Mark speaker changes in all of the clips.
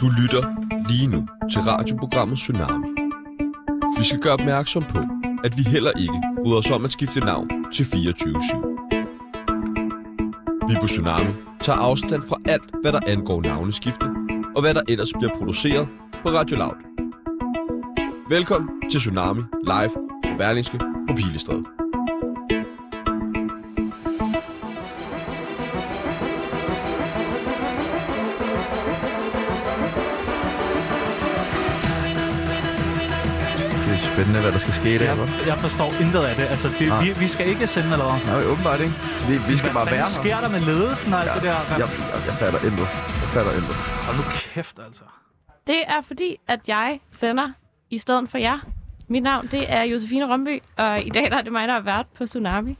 Speaker 1: Du lytter lige nu til radioprogrammet Tsunami. Vi skal gøre opmærksom på, at vi heller ikke bryder os om at skifte navn til 24-7. Vi på Tsunami tager afstand fra alt, hvad der angår navneskifte, og hvad der ellers bliver produceret på Radio Loud. Velkommen til Tsunami Live på Berlingske på Pilestræde.
Speaker 2: Det er spændende, hvad der skal ske i dag,
Speaker 3: Jeg,
Speaker 2: hva'?
Speaker 3: jeg forstår intet af det. Altså, det
Speaker 2: Nej.
Speaker 3: vi, vi skal ikke sende eller hvad?
Speaker 2: Nej, åbenbart ikke. Vi, vi skal bare være
Speaker 3: Hvad
Speaker 2: her.
Speaker 3: sker der med ledelsen og alt det der?
Speaker 2: Jeg, jeg, jeg fatter intet. Jeg fatter intet.
Speaker 3: Hold nu kæft, altså.
Speaker 4: Det er fordi, at jeg sender i stedet for jer. Mit navn, det er Josefine Rømby, og i dag der er det mig, der er vært på Tsunami.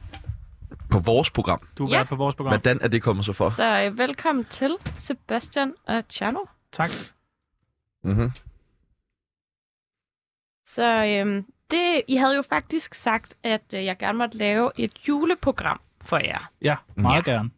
Speaker 2: På vores program.
Speaker 3: Du er
Speaker 4: Ja.
Speaker 3: ja. på vores program.
Speaker 2: Hvordan er det kommet så for?
Speaker 4: Så øh, velkommen til Sebastian og Chano.
Speaker 3: Tak.
Speaker 2: Mm-hmm.
Speaker 4: Så øhm, det, I havde jo faktisk sagt, at øh, jeg gerne måtte lave et juleprogram for jer.
Speaker 3: Ja,
Speaker 2: Mm.
Speaker 3: meget ja. gerne.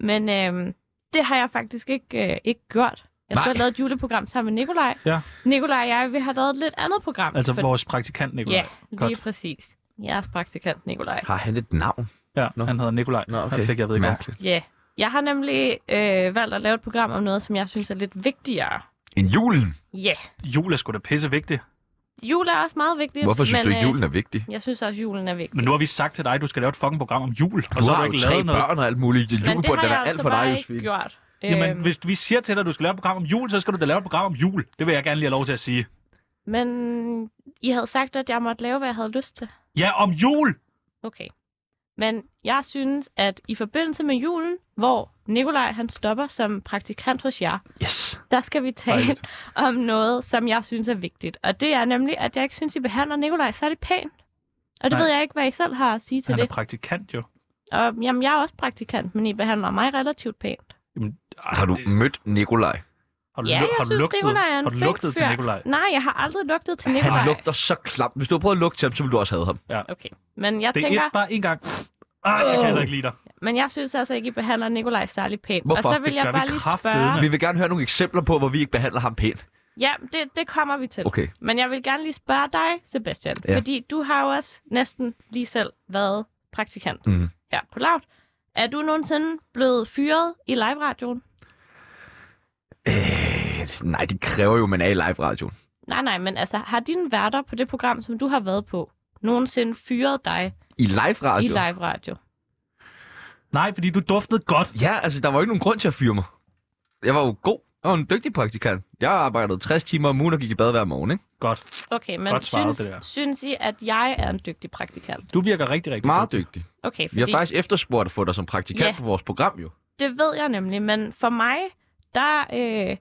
Speaker 4: Men øhm, det har jeg faktisk ikke, øh, ikke gjort. Jeg skulle
Speaker 2: Nej.
Speaker 4: have lavet et juleprogram sammen med Nikolaj.
Speaker 3: Ja.
Speaker 4: Nikolaj og jeg, vi har lavet et lidt andet program.
Speaker 3: Altså
Speaker 4: for-
Speaker 3: vores praktikant, Nikolaj.
Speaker 4: Ja, lige
Speaker 3: Godt.
Speaker 4: præcis. Jeres praktikant, Nikolaj.
Speaker 2: Har han et navn?
Speaker 3: Ja,
Speaker 2: Nå.
Speaker 3: han hedder Nikolaj.
Speaker 2: Nå, okay.
Speaker 3: Han fik jeg ved ikke hvor.
Speaker 2: Mærkeligt.
Speaker 4: Ja, yeah. jeg har nemlig øh, valgt at lave et program om noget, som jeg synes er lidt vigtigere.
Speaker 2: En julen?
Speaker 4: Ja, yeah.
Speaker 3: Jul er sgu da pisse vigtigt.
Speaker 4: jul er også meget vigtigt.
Speaker 2: Hvorfor synes
Speaker 4: men,
Speaker 2: du ikke,
Speaker 4: øh,
Speaker 2: julen er vigtig?
Speaker 4: Jeg synes også, julen er vigtig.
Speaker 3: Men nu har vi sagt til dig, at du skal lave et fucking program om jul, og
Speaker 2: Du
Speaker 3: så har
Speaker 2: har
Speaker 3: du
Speaker 2: jo
Speaker 3: ikke
Speaker 2: tre
Speaker 3: lavet noget.
Speaker 2: børn og alt muligt. Det
Speaker 4: men det
Speaker 2: julebord,
Speaker 4: har
Speaker 2: den er
Speaker 4: jeg
Speaker 2: alt
Speaker 4: altså
Speaker 2: for dig,
Speaker 4: bare ikke
Speaker 2: Josefine.
Speaker 4: gjort.
Speaker 3: Jamen,
Speaker 4: Øhm,
Speaker 3: hvis vi siger til dig, at du skal lave et program om jul, så skal du da lave et program om jul. Det vil jeg gerne lige have lov til at sige.
Speaker 4: Men I havde sagt, at jeg måtte lave, hvad jeg havde lyst til.
Speaker 3: Ja, om jul!
Speaker 4: Okay. Men jeg synes, at i forbindelse med julen, hvor Nikolaj han stopper som praktikant hos jer,
Speaker 3: Yes.
Speaker 4: der skal vi tale
Speaker 3: Dejligt.
Speaker 4: om noget, som jeg synes er vigtigt. Og det er nemlig, at jeg ikke synes, I behandler Nikolaj særlig pænt. Og det
Speaker 3: Nej.
Speaker 4: ved jeg ikke, hvad I selv har at sige til
Speaker 3: Han
Speaker 4: det.
Speaker 3: er praktikant jo.
Speaker 4: Og jamen, jeg er også praktikant, men I behandler mig relativt pænt.
Speaker 3: Jamen, ej,
Speaker 2: Har du
Speaker 3: det-
Speaker 2: mødt Nikolaj?
Speaker 3: har du,
Speaker 4: Ja, jeg
Speaker 3: lu- har du
Speaker 4: synes,
Speaker 3: lugtet,
Speaker 4: Nikolaj er en
Speaker 3: har du
Speaker 4: flink
Speaker 3: lugtet til
Speaker 4: fyr.
Speaker 3: Nikolaj?
Speaker 4: Nej, jeg har aldrig lugtet til
Speaker 2: Han
Speaker 4: Nikolaj.
Speaker 2: lugter så klamt. Hvis du har prøvet at lugte til ham, så vil du også have ham.
Speaker 4: Okay, men jeg,
Speaker 3: Det er
Speaker 4: tænker,
Speaker 3: et, bare en gang. Ah, jeg kan heller ikke lide dig.
Speaker 4: men jeg synes altså ikke, I behandler Nikolaj særlig pænt.
Speaker 2: Hvorfor?
Speaker 4: Og så vil
Speaker 3: Det
Speaker 4: jeg
Speaker 3: gør vi
Speaker 4: bare lige
Speaker 3: kraftedeme.
Speaker 4: spørge...
Speaker 2: Vi vil gerne høre nogle eksempler på, hvor vi ikke behandler ham pænt.
Speaker 4: Ja, det, det kommer vi til.
Speaker 2: Okay.
Speaker 4: Men jeg vil gerne lige spørge dig, Sebastian.
Speaker 2: Ja.
Speaker 4: Ja. Fordi du har jo også næsten lige selv været praktikant
Speaker 2: Mhm.
Speaker 4: her på Loud. Er du nogensinde blevet fyret i live-radioen?
Speaker 2: Øh, nej, det kræver jo, at man er i live-radioen.
Speaker 4: Nej, nej, men altså, har dine værter på det program, som du har været på, nogensinde fyret dig
Speaker 2: I live-radio?
Speaker 4: i live-radio?
Speaker 3: Nej, fordi du duftede godt.
Speaker 2: Ja, altså, der var jo ikke nogen grund til at fyre mig. Jeg var jo god. Jeg var en dygtig praktikant. Jeg arbejdede 60 timer om ugen og gik i bad hver morgen, ikke?
Speaker 3: Godt.
Speaker 4: Okay, men
Speaker 3: Godt svaret,
Speaker 4: synes,
Speaker 3: det der.
Speaker 4: synes I, at jeg er en dygtig praktikant?
Speaker 3: Du virker rigtig, rigtig
Speaker 2: Meget
Speaker 3: dygtig.
Speaker 2: dygtig.
Speaker 4: Okay,
Speaker 2: Vi
Speaker 4: fordi
Speaker 2: har faktisk efterspurgt at få dig som praktikant
Speaker 4: Ja.
Speaker 2: på vores program, jo.
Speaker 4: det ved jeg nemlig, men for mig, der øh,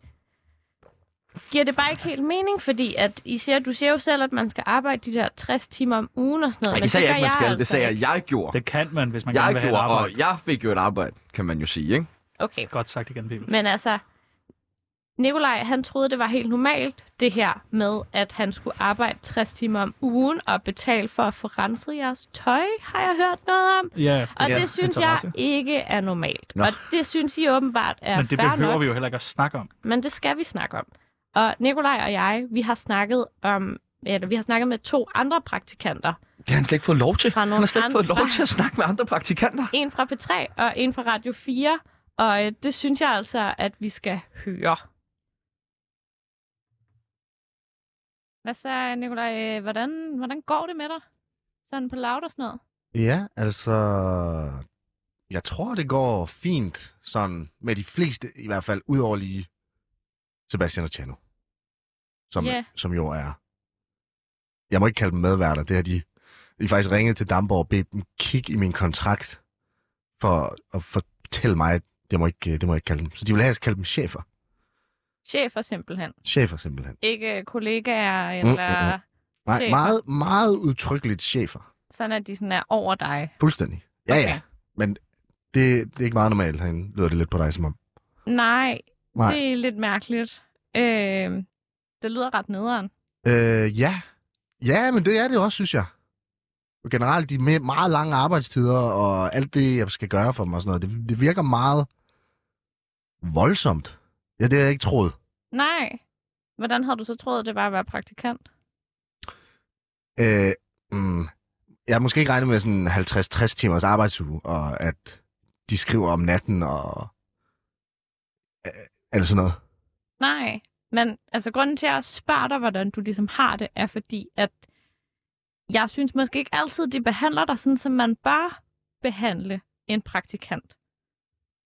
Speaker 4: giver det bare ikke helt mening, fordi at I siger, du siger jo selv, at man skal arbejde de der 60 timer om ugen og sådan noget.
Speaker 2: Nej,
Speaker 4: men
Speaker 2: det sagde jeg
Speaker 4: gør
Speaker 2: ikke, man skal. det
Speaker 4: altså
Speaker 2: sagde
Speaker 4: ikke.
Speaker 2: jeg, jeg gjorde.
Speaker 3: Det kan man, hvis man
Speaker 2: jeg
Speaker 3: gerne vil have et
Speaker 2: gjorde,
Speaker 3: arbejde.
Speaker 2: og jeg fik jo et arbejde, kan man jo sige, ikke?
Speaker 4: Okay,
Speaker 3: Godt sagt igen, Bibel.
Speaker 4: men altså, Nikolaj, han troede, det var helt normalt, det her med, at han skulle arbejde 60 timer om ugen og betale for at få renset jeres tøj, har jeg hørt noget om.
Speaker 3: Ja,
Speaker 4: Og
Speaker 2: Ja,
Speaker 4: det synes
Speaker 3: interesse.
Speaker 4: jeg ikke er normalt.
Speaker 2: Nå.
Speaker 4: Og det synes I åbenbart er
Speaker 3: men det
Speaker 4: fair
Speaker 3: behøver
Speaker 4: nok.
Speaker 3: vi jo heller ikke at snakke om.
Speaker 4: men det skal vi snakke om. Og Nikolaj og jeg, vi har snakket om eller vi har snakket med to andre praktikanter.
Speaker 2: Det har han slet ikke fået lov til.
Speaker 4: Fra
Speaker 2: Han
Speaker 4: nogle
Speaker 2: har slet ikke fået
Speaker 4: andre.
Speaker 2: lov til at snakke med andre praktikanter.
Speaker 4: En fra P3 og en fra Radio 4. Og øh, det synes jeg altså, at vi skal høre. Hvad så, Nikolaj? øh, Hvordan, hvordan går det med dig? Sådan på laut og sådan noget?
Speaker 5: Ja, altså... Jeg tror, det går fint, sådan med de fleste, i hvert fald, udover lige Sebastian og Chano. Som,
Speaker 4: Ja.
Speaker 5: yeah. som jo er... Jeg må ikke kalde dem medværter, det har de... De har faktisk ringet til Damborg og bedt dem kigge i min kontrakt for at fortælle mig, at det må ikke, det må jeg ikke kalde dem. Så de vil have, at jeg skal kalde dem chefer.
Speaker 4: Chefer simpelthen.
Speaker 5: Chefer simpelthen.
Speaker 4: Ikke øh, kollegaer
Speaker 5: mm,
Speaker 4: eller mm, mm,
Speaker 5: Nej,
Speaker 4: Chefer.
Speaker 5: meget, meget udtrykkeligt chefer.
Speaker 4: sådan, at de sådan er over dig.
Speaker 5: Fuldstændig. Ja, okay. ja. Det, det er ikke meget normalt herinde, lyder det lidt på dig som om.
Speaker 4: Nej,
Speaker 5: Nej.
Speaker 4: Det er lidt mærkeligt. Øh, det lyder ret nederen.
Speaker 5: Øh, ja. Ja, men det er det også, synes jeg. Og generelt de me- meget lange arbejdstider og alt det, jeg skal gøre for dem og sådan noget, det, det virker meget voldsomt. Ja, det havde jeg ikke troet.
Speaker 4: Nej. Hvordan havde du så troet, det var at være praktikant?
Speaker 5: Øh, mm, jeg har måske ikke regnet med sådan 50-60 timers arbejdsuge, og at de skriver om natten og... Øh, eller sådan noget.
Speaker 4: Nej. Men altså, grunden til, at jeg spørger dig, hvordan du ligesom har det, er fordi, at jeg synes måske ikke altid, de behandler dig sådan, som man bør behandle en praktikant.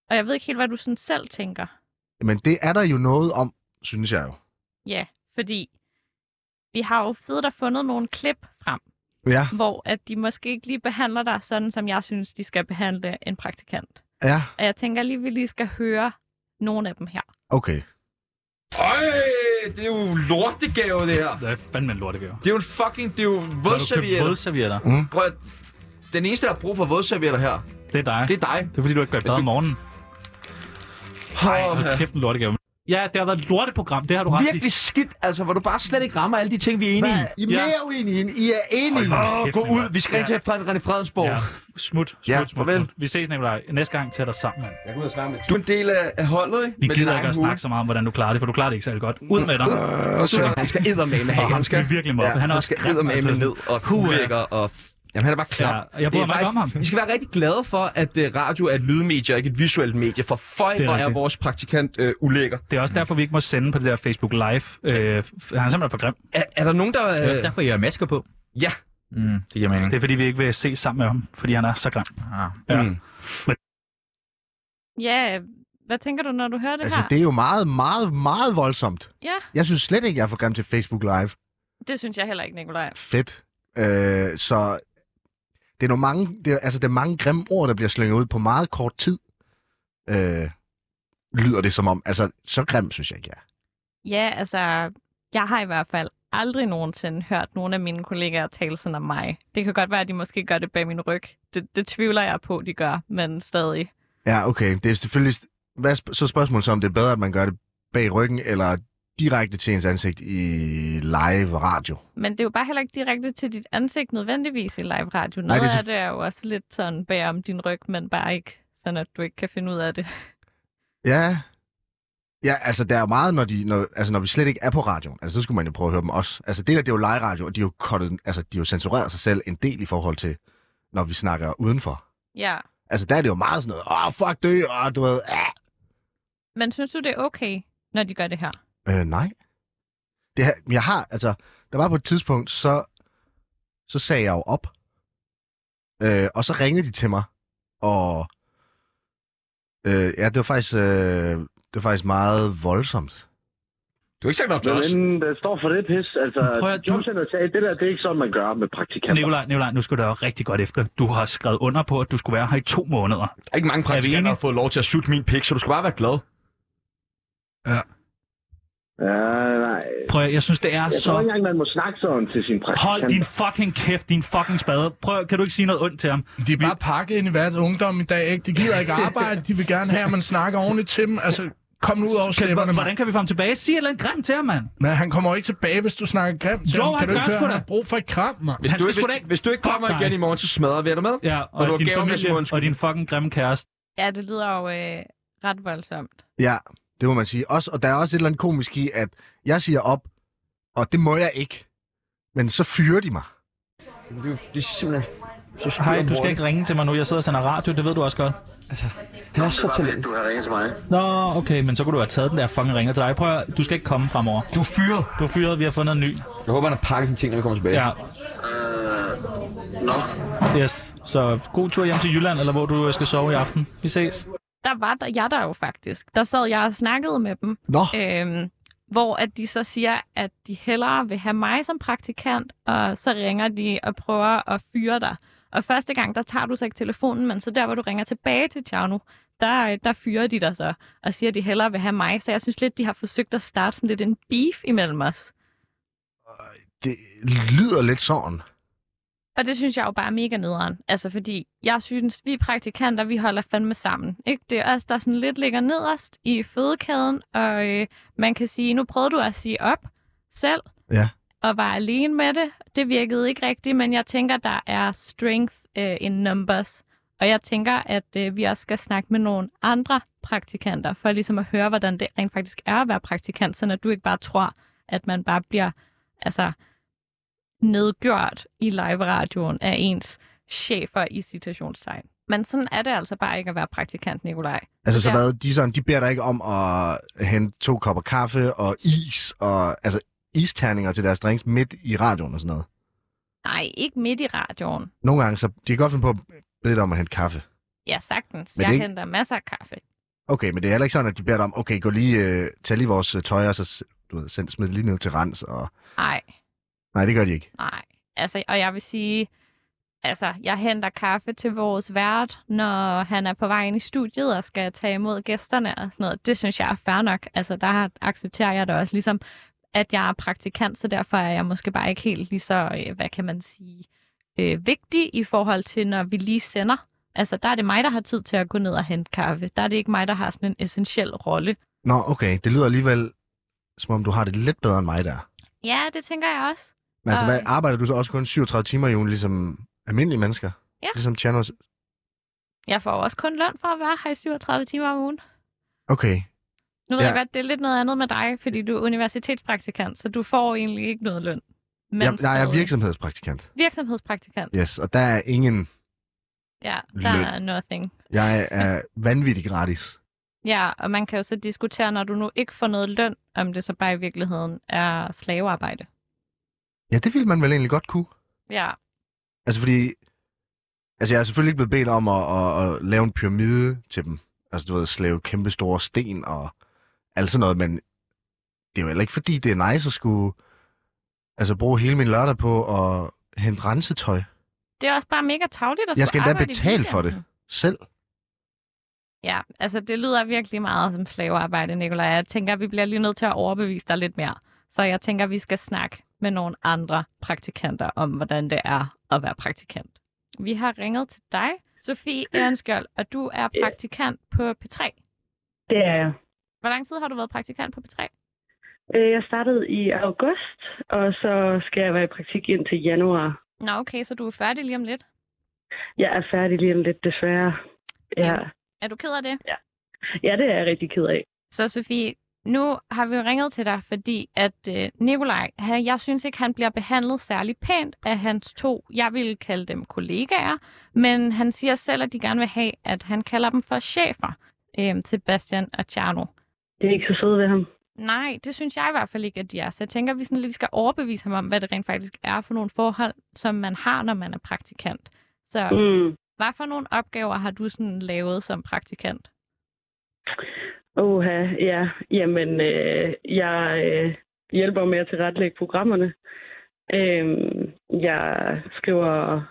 Speaker 4: Og jeg ved ikke helt, hvad du sådan selv tænker.
Speaker 5: Men det er der jo noget om, synes jeg jo.
Speaker 4: Ja, fordi vi har jo siddet og fundet nogle klip frem,
Speaker 5: Ja,
Speaker 4: hvor at de måske ikke lige behandler dig sådan, som jeg synes, de skal behandle en praktikant.
Speaker 5: ja,
Speaker 4: Og jeg tænker lige, vi lige skal høre nogle af dem her.
Speaker 5: okay.
Speaker 2: Øj, det er jo lortegave, det her.
Speaker 3: Det er fandme en lortegave.
Speaker 2: Det er jo en fucking... Det er jo
Speaker 3: Har du købt
Speaker 2: vådservietter.
Speaker 3: vådservietter?
Speaker 2: Prøv at- Den eneste, der har brug for vådservietter her,
Speaker 3: Det er dig.
Speaker 2: det er dig.
Speaker 3: Det er fordi, du ikke går i bad om morgenen. Nej,
Speaker 2: Åh,
Speaker 3: hold
Speaker 2: ja.
Speaker 3: kæft en lortegave. Ja, det har været et lorteprogram, det har du ret i.
Speaker 2: Virkelig skidt, altså, hvor du bare slet ikke rammer alle de ting, vi er enige i.
Speaker 5: Hvad? I er
Speaker 3: Ja.
Speaker 5: mere uenige, end I er enige.
Speaker 3: Hold
Speaker 2: Åh,
Speaker 3: Kæft,
Speaker 2: gå
Speaker 3: Nicolaj.
Speaker 2: ud. Vi skal ind til
Speaker 3: Ja.
Speaker 2: Fred- René Fredensborg.
Speaker 3: Ja, smut, smut,
Speaker 2: Ja,
Speaker 3: smut, smut.
Speaker 2: farvel.
Speaker 3: Vi ses, Nicolaj. Næste gang tager dig sammen, mand.
Speaker 5: Jeg går ud og snakke med
Speaker 2: Du er en del af, af holdet, ikke?
Speaker 3: Vi
Speaker 2: Med din
Speaker 3: gider
Speaker 2: egen
Speaker 3: ikke at
Speaker 2: hue.
Speaker 3: snakke så meget om, hvordan du klarer det, for du klarer det ikke særlig godt. Ud med dig.
Speaker 2: Øh, så han skal eddermame have.
Speaker 3: Fuck,
Speaker 2: Han skal,
Speaker 3: det er virkelig mobbet. Han er også
Speaker 2: skal
Speaker 3: grim,
Speaker 2: eddermame
Speaker 3: altså sådan.
Speaker 2: ned og ulækker og... Jamen, han er bare knap.
Speaker 3: Ja, og jeg bryder mig ikke om ham.
Speaker 2: Vi skal være rigtig glade for, at uh, radio er et lydmedie og ikke et visuelt medie. For føj,
Speaker 3: Det er
Speaker 2: hvor er
Speaker 3: rigtigt.
Speaker 2: vores praktikant uh, ulækker.
Speaker 3: Det er også derfor, vi ikke må sende på det der Facebook Live. Øh, f- han er simpelthen for grim.
Speaker 2: Er, er der nogen, der...
Speaker 6: Det er også
Speaker 2: Uh,
Speaker 6: derfor, I har masker på.
Speaker 2: ja.
Speaker 6: Mm, det giver mening.
Speaker 3: Det er fordi, vi ikke vil se sammen med ham, fordi han er så grim.
Speaker 6: Ah.
Speaker 3: Ja.
Speaker 2: Mm.
Speaker 4: Ja, hvad tænker du, når du hører det
Speaker 5: Altså,
Speaker 4: her?
Speaker 5: det er jo meget, meget, meget voldsomt.
Speaker 4: Ja,
Speaker 5: Jeg synes slet ikke, jeg er for grim til Facebook Live.
Speaker 4: det synes jeg heller ikke, Nikolaj.
Speaker 5: Fedt. Øh, så det er, nogle mange, det er, altså, det er mange grimme ord, der bliver slynget ud på meget kort tid. Øh, lyder det som om. Altså, så grim synes jeg ikke, jeg er.
Speaker 4: Ja, altså, jeg har i hvert fald aldrig nogensinde hørt nogen af mine kollegaer tale sådan om mig. Det kan godt være, at de måske gør det bag min ryg. Det, det tvivler jeg på, de gør, men stadig.
Speaker 5: Ja, okay. Det er selvfølgelig... Hvad, er sp- så er spørgsmålet så, om det er bedre, at man gør det bag ryggen, eller direkte til ens ansigt i live radio.
Speaker 4: Men det er jo bare heller ikke direkte til dit ansigt nødvendigvis i live radio.
Speaker 5: Nej,
Speaker 4: Noget
Speaker 5: det
Speaker 4: Nej,
Speaker 5: er så-
Speaker 4: det af det er jo også lidt sådan bag om din ryg, men bare ikke sådan, at du ikke kan finde ud af det.
Speaker 5: Ja. Ja, altså der er jo meget, når, de, når, altså, når vi slet ikke er på radioen, altså, så skulle man jo prøve at høre dem også. Altså det der, det er jo live radio, og de er jo, cuttet, altså, de er jo censureret sig selv en del i forhold til, når vi snakker udenfor.
Speaker 4: Ja.
Speaker 5: Altså der er det jo meget sådan noget, åh oh, fuck det, og du ved, ah.
Speaker 4: Men synes du, det er okay, når de gør det her?
Speaker 5: Øh, nej. Det her, jeg har, altså, der var på et tidspunkt, så, så sagde jeg jo op. Øh, og så ringede de til mig, og øh, ja, det var faktisk, øh, det var faktisk meget voldsomt.
Speaker 2: Du har ikke sagt noget til os.
Speaker 7: Men der står for det pis. Altså,
Speaker 3: Prøv at- du-
Speaker 7: Jobcenter sagde, det der, det er ikke sådan, man gør med praktikanter.
Speaker 3: Nikolaj, Nikolaj, nu skal du jo rigtig godt efter. Du har skrevet under på, at du skulle være her i to måneder.
Speaker 2: Der er ikke mange praktikanter, der
Speaker 3: enige?
Speaker 2: har fået lov til at sutte min pik, så du skal bare være glad.
Speaker 7: Ja, nej.
Speaker 3: Prøv at, jeg synes, det er
Speaker 7: Jeg tror ikke
Speaker 3: så...
Speaker 7: engang, man må snakke sådan til sin praktikant.
Speaker 3: Hold din fucking kæft, din fucking spade. Prøv, at- kan du ikke sige noget ondt til ham?
Speaker 8: De er bare pakket ind i hvert ungdom i dag, ikke? De gider ikke arbejde, de vil gerne have, at man snakker ordentligt til dem. Altså, kom nu ud over
Speaker 3: Kan,
Speaker 8: slæberne,
Speaker 3: hvordan
Speaker 8: mand.
Speaker 3: kan vi få ham tilbage? Sig et eller andet grimt til ham, mand.
Speaker 8: Men han kommer jo ikke tilbage, hvis du snakker grimt til
Speaker 3: Jo,
Speaker 8: ham.
Speaker 3: han
Speaker 8: Kan du
Speaker 3: gør
Speaker 8: ikke høre,
Speaker 3: sgu
Speaker 8: at han
Speaker 3: da.
Speaker 8: har brug for et kram, mand?
Speaker 2: Hvis
Speaker 3: Han
Speaker 2: du,
Speaker 3: skal
Speaker 2: ikke,
Speaker 3: sgu da
Speaker 2: hvis,
Speaker 3: ikke-
Speaker 2: hvis du ikke
Speaker 3: Fuck
Speaker 2: kommer
Speaker 3: dig.
Speaker 2: igen i morgen, så smadrer vi. Er du med?
Speaker 3: Ja,
Speaker 2: Og du har
Speaker 3: og, din
Speaker 2: gaver med som
Speaker 3: familie
Speaker 2: undskyld.
Speaker 3: og din fucking grimme kæreste.
Speaker 4: Ja, det lyder jo øh, ret voldsomt.
Speaker 5: Ja, det må man sige. Også, og der er også et eller andet komisk i, at jeg siger op, og det må jeg ikke. Men så fyrer de mig.
Speaker 9: Det, er- det er simpelthen så spiller
Speaker 6: Hej, du skal ikke ringe til mig nu. Jeg sidder og sender radio, det ved du også godt.
Speaker 9: Han er så talent.
Speaker 7: Altså, Du har ringet til mig.
Speaker 6: Nå, okay, men så kunne du have taget den der fucking ringer til dig. Prøv at, du skal ikke komme fremover.
Speaker 9: Du er fyret.
Speaker 6: Du er fyret, vi har fundet en ny.
Speaker 9: Jeg håber, han har pakket sine ting, når vi kommer tilbage.
Speaker 6: Ja,
Speaker 7: Øh, Nå,
Speaker 6: yes. Så god tur hjem til Jylland, eller hvor du øh, skal sove i aften. Vi ses.
Speaker 4: Der var der, jeg der jo faktisk. Der sad jeg og snakkede med dem.
Speaker 5: Nå,
Speaker 4: Øhm, hvor at de så siger, at de hellere vil have mig som praktikant, og så ringer de og prøver at fyre dig. Og første gang, der tager du så ikke telefonen, men så der, hvor du ringer tilbage til Tjerno, der, øh, der fyrer de dig så, og siger, at de hellere vil have mig. Så jeg synes lidt, de har forsøgt at starte sådan lidt en beef imellem os.
Speaker 5: det lyder lidt sådan.
Speaker 4: Og det synes jeg jo bare er mega nederen. Altså fordi, jeg synes, vi praktikanter, vi holder fandme sammen. Ikke? Det er os, der sådan lidt ligger nederst i fødekæden, og øh, man kan sige, nu prøvede du at sige op selv,
Speaker 5: Ja.
Speaker 4: og var alene med det. Det virkede ikke rigtigt, men jeg tænker, der er strength øh, in numbers. Og jeg tænker, at øh, vi også skal snakke med nogle andre praktikanter, for ligesom at høre, hvordan det rent faktisk er at være praktikant, så at du ikke bare tror, at man bare bliver altså, nedgjort i live-radioen af ens chefer i citationstegn. Men sådan er det altså bare ikke at være praktikant, Nikolaj.
Speaker 5: Altså, så
Speaker 4: Ja.
Speaker 5: hvad, de, sådan, de beder dig ikke om at hente to kopper kaffe og is og altså, isterninger til deres drinks midt i radioen og sådan noget.
Speaker 4: Nej, ikke midt i radioen.
Speaker 5: Nogle gange, så de kan godt finde på at bede dig om at hente kaffe.
Speaker 4: Ja, sagtens.
Speaker 5: Men
Speaker 4: Jeg
Speaker 5: det er ikke-
Speaker 4: henter masser af kaffe.
Speaker 5: Okay, men det er heller ikke sådan, at de beder dig om, okay, gå lige, øh, tag lige vores øh, tøj, og så s- du ved, send, smid det lige ned til rens. Og...
Speaker 4: Nej,
Speaker 5: Nej, det gør de ikke.
Speaker 4: nej. Altså, og jeg vil sige, altså, jeg henter kaffe til vores vært, når han er på vej ind i studiet og skal tage imod gæsterne og sådan noget. Det synes jeg er fair nok. Altså, der har- accepterer jeg det også ligesom, at jeg er praktikant, så derfor er jeg måske bare ikke helt lige så, øh, hvad kan man sige, øh, vigtig i forhold til, når vi lige sender. Altså, der er det mig, der har tid til at gå ned og hente kaffe. Der er det ikke mig, der har sådan en essentiel rolle.
Speaker 5: Nå, okay, det lyder alligevel, som om du har det lidt bedre end mig der.
Speaker 4: Ja, det tænker jeg også.
Speaker 5: Men altså,
Speaker 4: Ej.
Speaker 5: hvad, arbejder du så også kun 37 timer i ugen, ligesom almindelige mennesker?
Speaker 4: Ja.
Speaker 5: Ligesom Tjernos?
Speaker 4: Jeg får også kun løn for at være her i 37 timer om ugen.
Speaker 5: Okay,
Speaker 4: Nu ved ja.
Speaker 5: Ja.
Speaker 4: jeg godt, det er lidt noget andet med dig, fordi du er universitetspraktikant, så du får egentlig ikke noget løn. Men
Speaker 5: jeg, nej, jeg er
Speaker 4: stadig.
Speaker 5: virksomhedspraktikant.
Speaker 4: virksomhedspraktikant.
Speaker 5: Yes, og der er ingen...
Speaker 4: Ja, der
Speaker 5: Løn.
Speaker 4: er nothing.
Speaker 5: Jeg er vanvittig gratis.
Speaker 4: Ja, og man kan jo så diskutere, når du nu ikke får noget løn, om det så bare i virkeligheden er slavearbejde.
Speaker 5: Ja, det ville man vel egentlig godt kunne.
Speaker 4: Ja,
Speaker 5: Altså, fordi... Altså, jeg er selvfølgelig ikke blevet bedt om at, at, at lave en pyramide til dem. Altså, du ved, slave kæmpe store sten og alt sådan noget, men det er jo heller ikke, fordi det er nice at skulle altså, bruge hele min lørdag på at hente rensetøj
Speaker 4: det er også bare mega tavligt at
Speaker 5: Jeg skal
Speaker 4: skulle
Speaker 5: endda
Speaker 4: arbejde i
Speaker 5: betale for det.
Speaker 4: weekenden.
Speaker 5: selv.
Speaker 4: Ja, altså det lyder virkelig meget som slavearbejde, Nicolaj. Jeg tænker, vi bliver lige nødt til at overbevise dig lidt mere. Så jeg tænker, vi skal snakke med nogle andre praktikanter om, hvordan det er at være praktikant. Vi har ringet til dig, Sofie Ehrenskjold, og du er praktikant på P3.
Speaker 10: Det er jeg.
Speaker 4: Hvor lang tid har du været praktikant på P3?
Speaker 10: Øh, Jeg startede i august, og så skal jeg være i praktik indtil januar.
Speaker 4: Nå, okay, så du er færdig lige om lidt.
Speaker 10: Jeg er færdig lige om lidt, desværre. Ja,
Speaker 4: Er du ked af det? Ja.
Speaker 10: ja det er jeg rigtig ked af.
Speaker 4: Så Sofie, nu har vi jo ringet til dig, fordi at øh, Nikolaj, han, jeg synes ikke, han bliver behandlet særlig pænt af hans to, jeg ville kalde dem kollegaer, men han siger selv, at de gerne vil have, at han kalder dem for chefer, øh, Sebastian og Tjerno.
Speaker 10: Det er ikke så sødt ved ham.
Speaker 4: Nej, det synes jeg i hvert fald ikke, at de er. Så jeg tænker, at vi sådan lidt skal overbevise ham om, hvad det rent faktisk er for nogle forhold, som man har, når man er praktikant. Så
Speaker 10: Mm.
Speaker 4: hvad for nogle opgaver har du sådan lavet som praktikant?
Speaker 10: Oha, ja. Jamen, øh, jeg øh, hjælper med at tilrettelægge programmerne. Øh, jeg skriver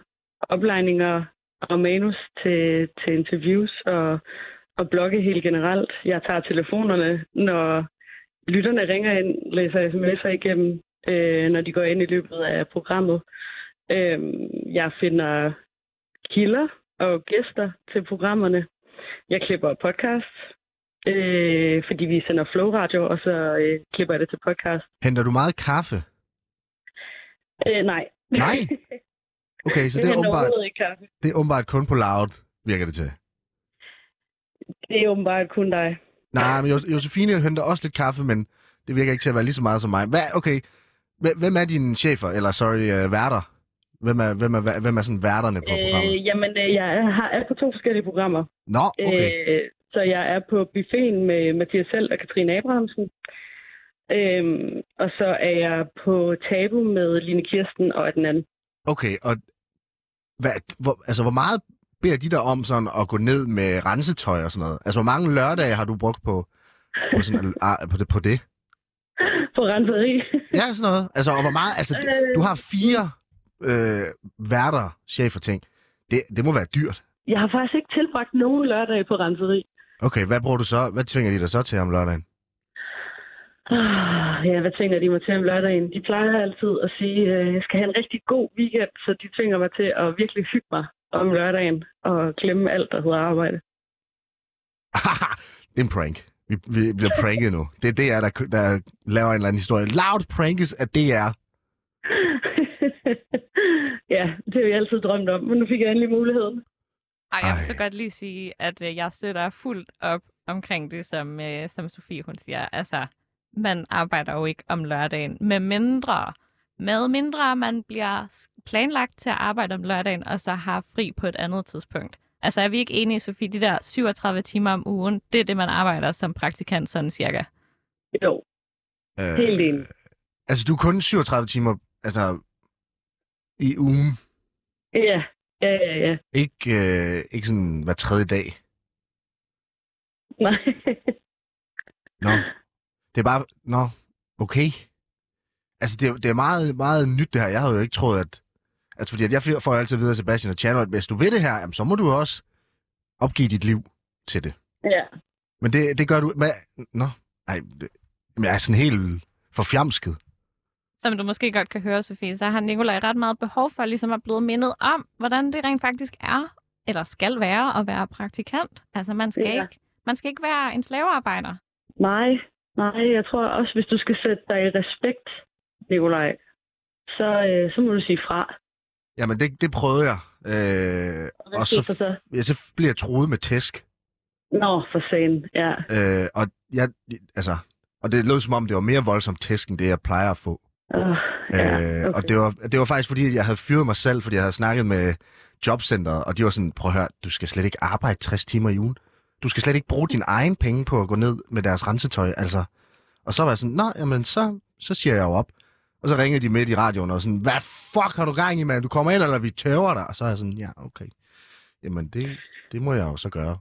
Speaker 10: oplejninger og manus til, til interviews og, og blogge helt generelt. Jeg tager telefonerne, når lytterne ringer ind, læser sms'er igennem, øh, når de går ind i løbet af programmet. Øh, jeg finder kilder og gæster til programmerne. Jeg klipper podcasts øh, fordi vi sender Flow Radio, og så øh, klipper jeg det til podcast.
Speaker 5: Henter du meget kaffe?
Speaker 10: Øh, nej.
Speaker 5: Nej? Okay, så det er
Speaker 10: henter
Speaker 5: åbenbart,
Speaker 10: overhovedet ikke kaffe.
Speaker 5: det er åbenbart kun på loud, virker det til.
Speaker 10: Det er åbenbart kun dig.
Speaker 5: Nej, men Jo- Josefine henter også lidt kaffe, men det virker ikke til at være lige så meget som mig. Hvad, okay, hv- hvem er dine chefer, eller sorry, uh, værter? Hvem er, hvem, er, hvem er sådan værterne på programmet?
Speaker 10: Øh, jamen, øh, jeg er, har- er på to forskellige programmer.
Speaker 5: Nå, okay.
Speaker 10: Øh, så jeg er på buffeten med Mathias Selv og Katrine Abrahamsen. Øhm, og så er jeg på tabu med Line Kirsten og den anden.
Speaker 5: Okay, og hvad, hvor, altså, hvor meget beder de dig om sådan at gå ned med rensetøj og sådan noget? Altså, hvor mange lørdage har du brugt på, på, sådan, ah, på, det, på det?
Speaker 10: På renseri.
Speaker 5: Ja, sådan noget. Altså, og hvor meget, altså, d- du har fire øh, værter, chefer, ting. Det, det må være dyrt.
Speaker 10: Jeg har faktisk ikke tilbragt nogen lørdag på renseri.
Speaker 5: Okay, hvad bruger du så? Hvad tvinger de dig så til om lørdagen?
Speaker 10: Ah, Ja, hvad tænker de mig til om lørdagen? De plejer altid at sige, at jeg skal have en rigtig god weekend, så de tvinger mig til at virkelig hygge mig om lørdagen og glemme alt, der hedder arbejde.
Speaker 5: Det er en prank. Vi, vi bliver pranket nu. Det er DR, der, k- der laver en eller anden historie. Loud prankes af DR.
Speaker 10: ja, det har jeg altid drømt om, men nu fik jeg endelig muligheden.
Speaker 4: Og jeg
Speaker 5: Ej.
Speaker 4: vil så godt lige sige, at øh, jeg støtter fuldt op omkring det, som, øh, som Sofie hun siger. Altså, man arbejder jo ikke om lørdagen, med mindre, med mindre man bliver s- planlagt til at arbejde om lørdagen, og så har fri på et andet tidspunkt. Altså, er vi ikke enige, Sofie, de der 37 timer om ugen, det er det, man arbejder som praktikant, sådan cirka?
Speaker 10: Jo,
Speaker 5: Øh,
Speaker 10: helt enig.
Speaker 5: Altså, du er kun 37 timer altså, i ugen.
Speaker 10: Ja, ja, ja, ja.
Speaker 5: Ikke, øh, ikke sådan hver tredje dag.
Speaker 10: Nej.
Speaker 5: Nå. Det er bare... Nå, okay. Altså, det er, det er meget, meget nyt det her. Jeg havde jo ikke troet, at... Altså, fordi at jeg får- får jo altid videre, Sebastian og Chano, at hvis du vil det her, jamen, så må du også opgive dit liv til det.
Speaker 10: Ja.
Speaker 5: Men det, det gør du... Hvad? Nå, ej, det, jamen, jeg er sådan helt forfjamsket.
Speaker 4: Som du måske godt kan høre, Sofie, så har Nikolaj ret meget behov for ligesom at blive mindet om, hvordan det rent faktisk er, eller skal være at være praktikant. Altså, man skal,
Speaker 10: Ja.
Speaker 4: ja. ikke, man skal ikke være en slavearbejder.
Speaker 10: Nej, nej, jeg tror også, hvis du skal sætte dig i respekt, Nikolaj, så, øh, så må du sige fra.
Speaker 5: Jamen, det, det prøvede jeg. Øh,
Speaker 10: hvad skete der så?
Speaker 5: ja, så bliver jeg troet med tæsk.
Speaker 10: Nå, for sagen, ja.
Speaker 5: Øh, og, jeg, altså, og det lød som om, det var mere voldsomt tæsk, end det, jeg plejer at få.
Speaker 10: Uh,
Speaker 5: Ja, okay.
Speaker 10: okay.
Speaker 5: Øh, Og det var, det var faktisk fordi, at jeg havde fyret mig selv, fordi jeg havde snakket med jobcenteret, og de var sådan, prøv at høre, du skal slet ikke arbejde 60 timer i ugen. Du skal slet ikke bruge din egen penge på at gå ned med deres rensetøj, altså. Og så var jeg sådan, nå, jamen, så, så siger jeg jo op. Og så ringede de midt i radioen og sådan, hvad fuck har du gang i, mand? Du kommer ind, eller vi tæver dig. Og så er jeg sådan, ja, okay. Jamen, det, det må jeg jo så gøre.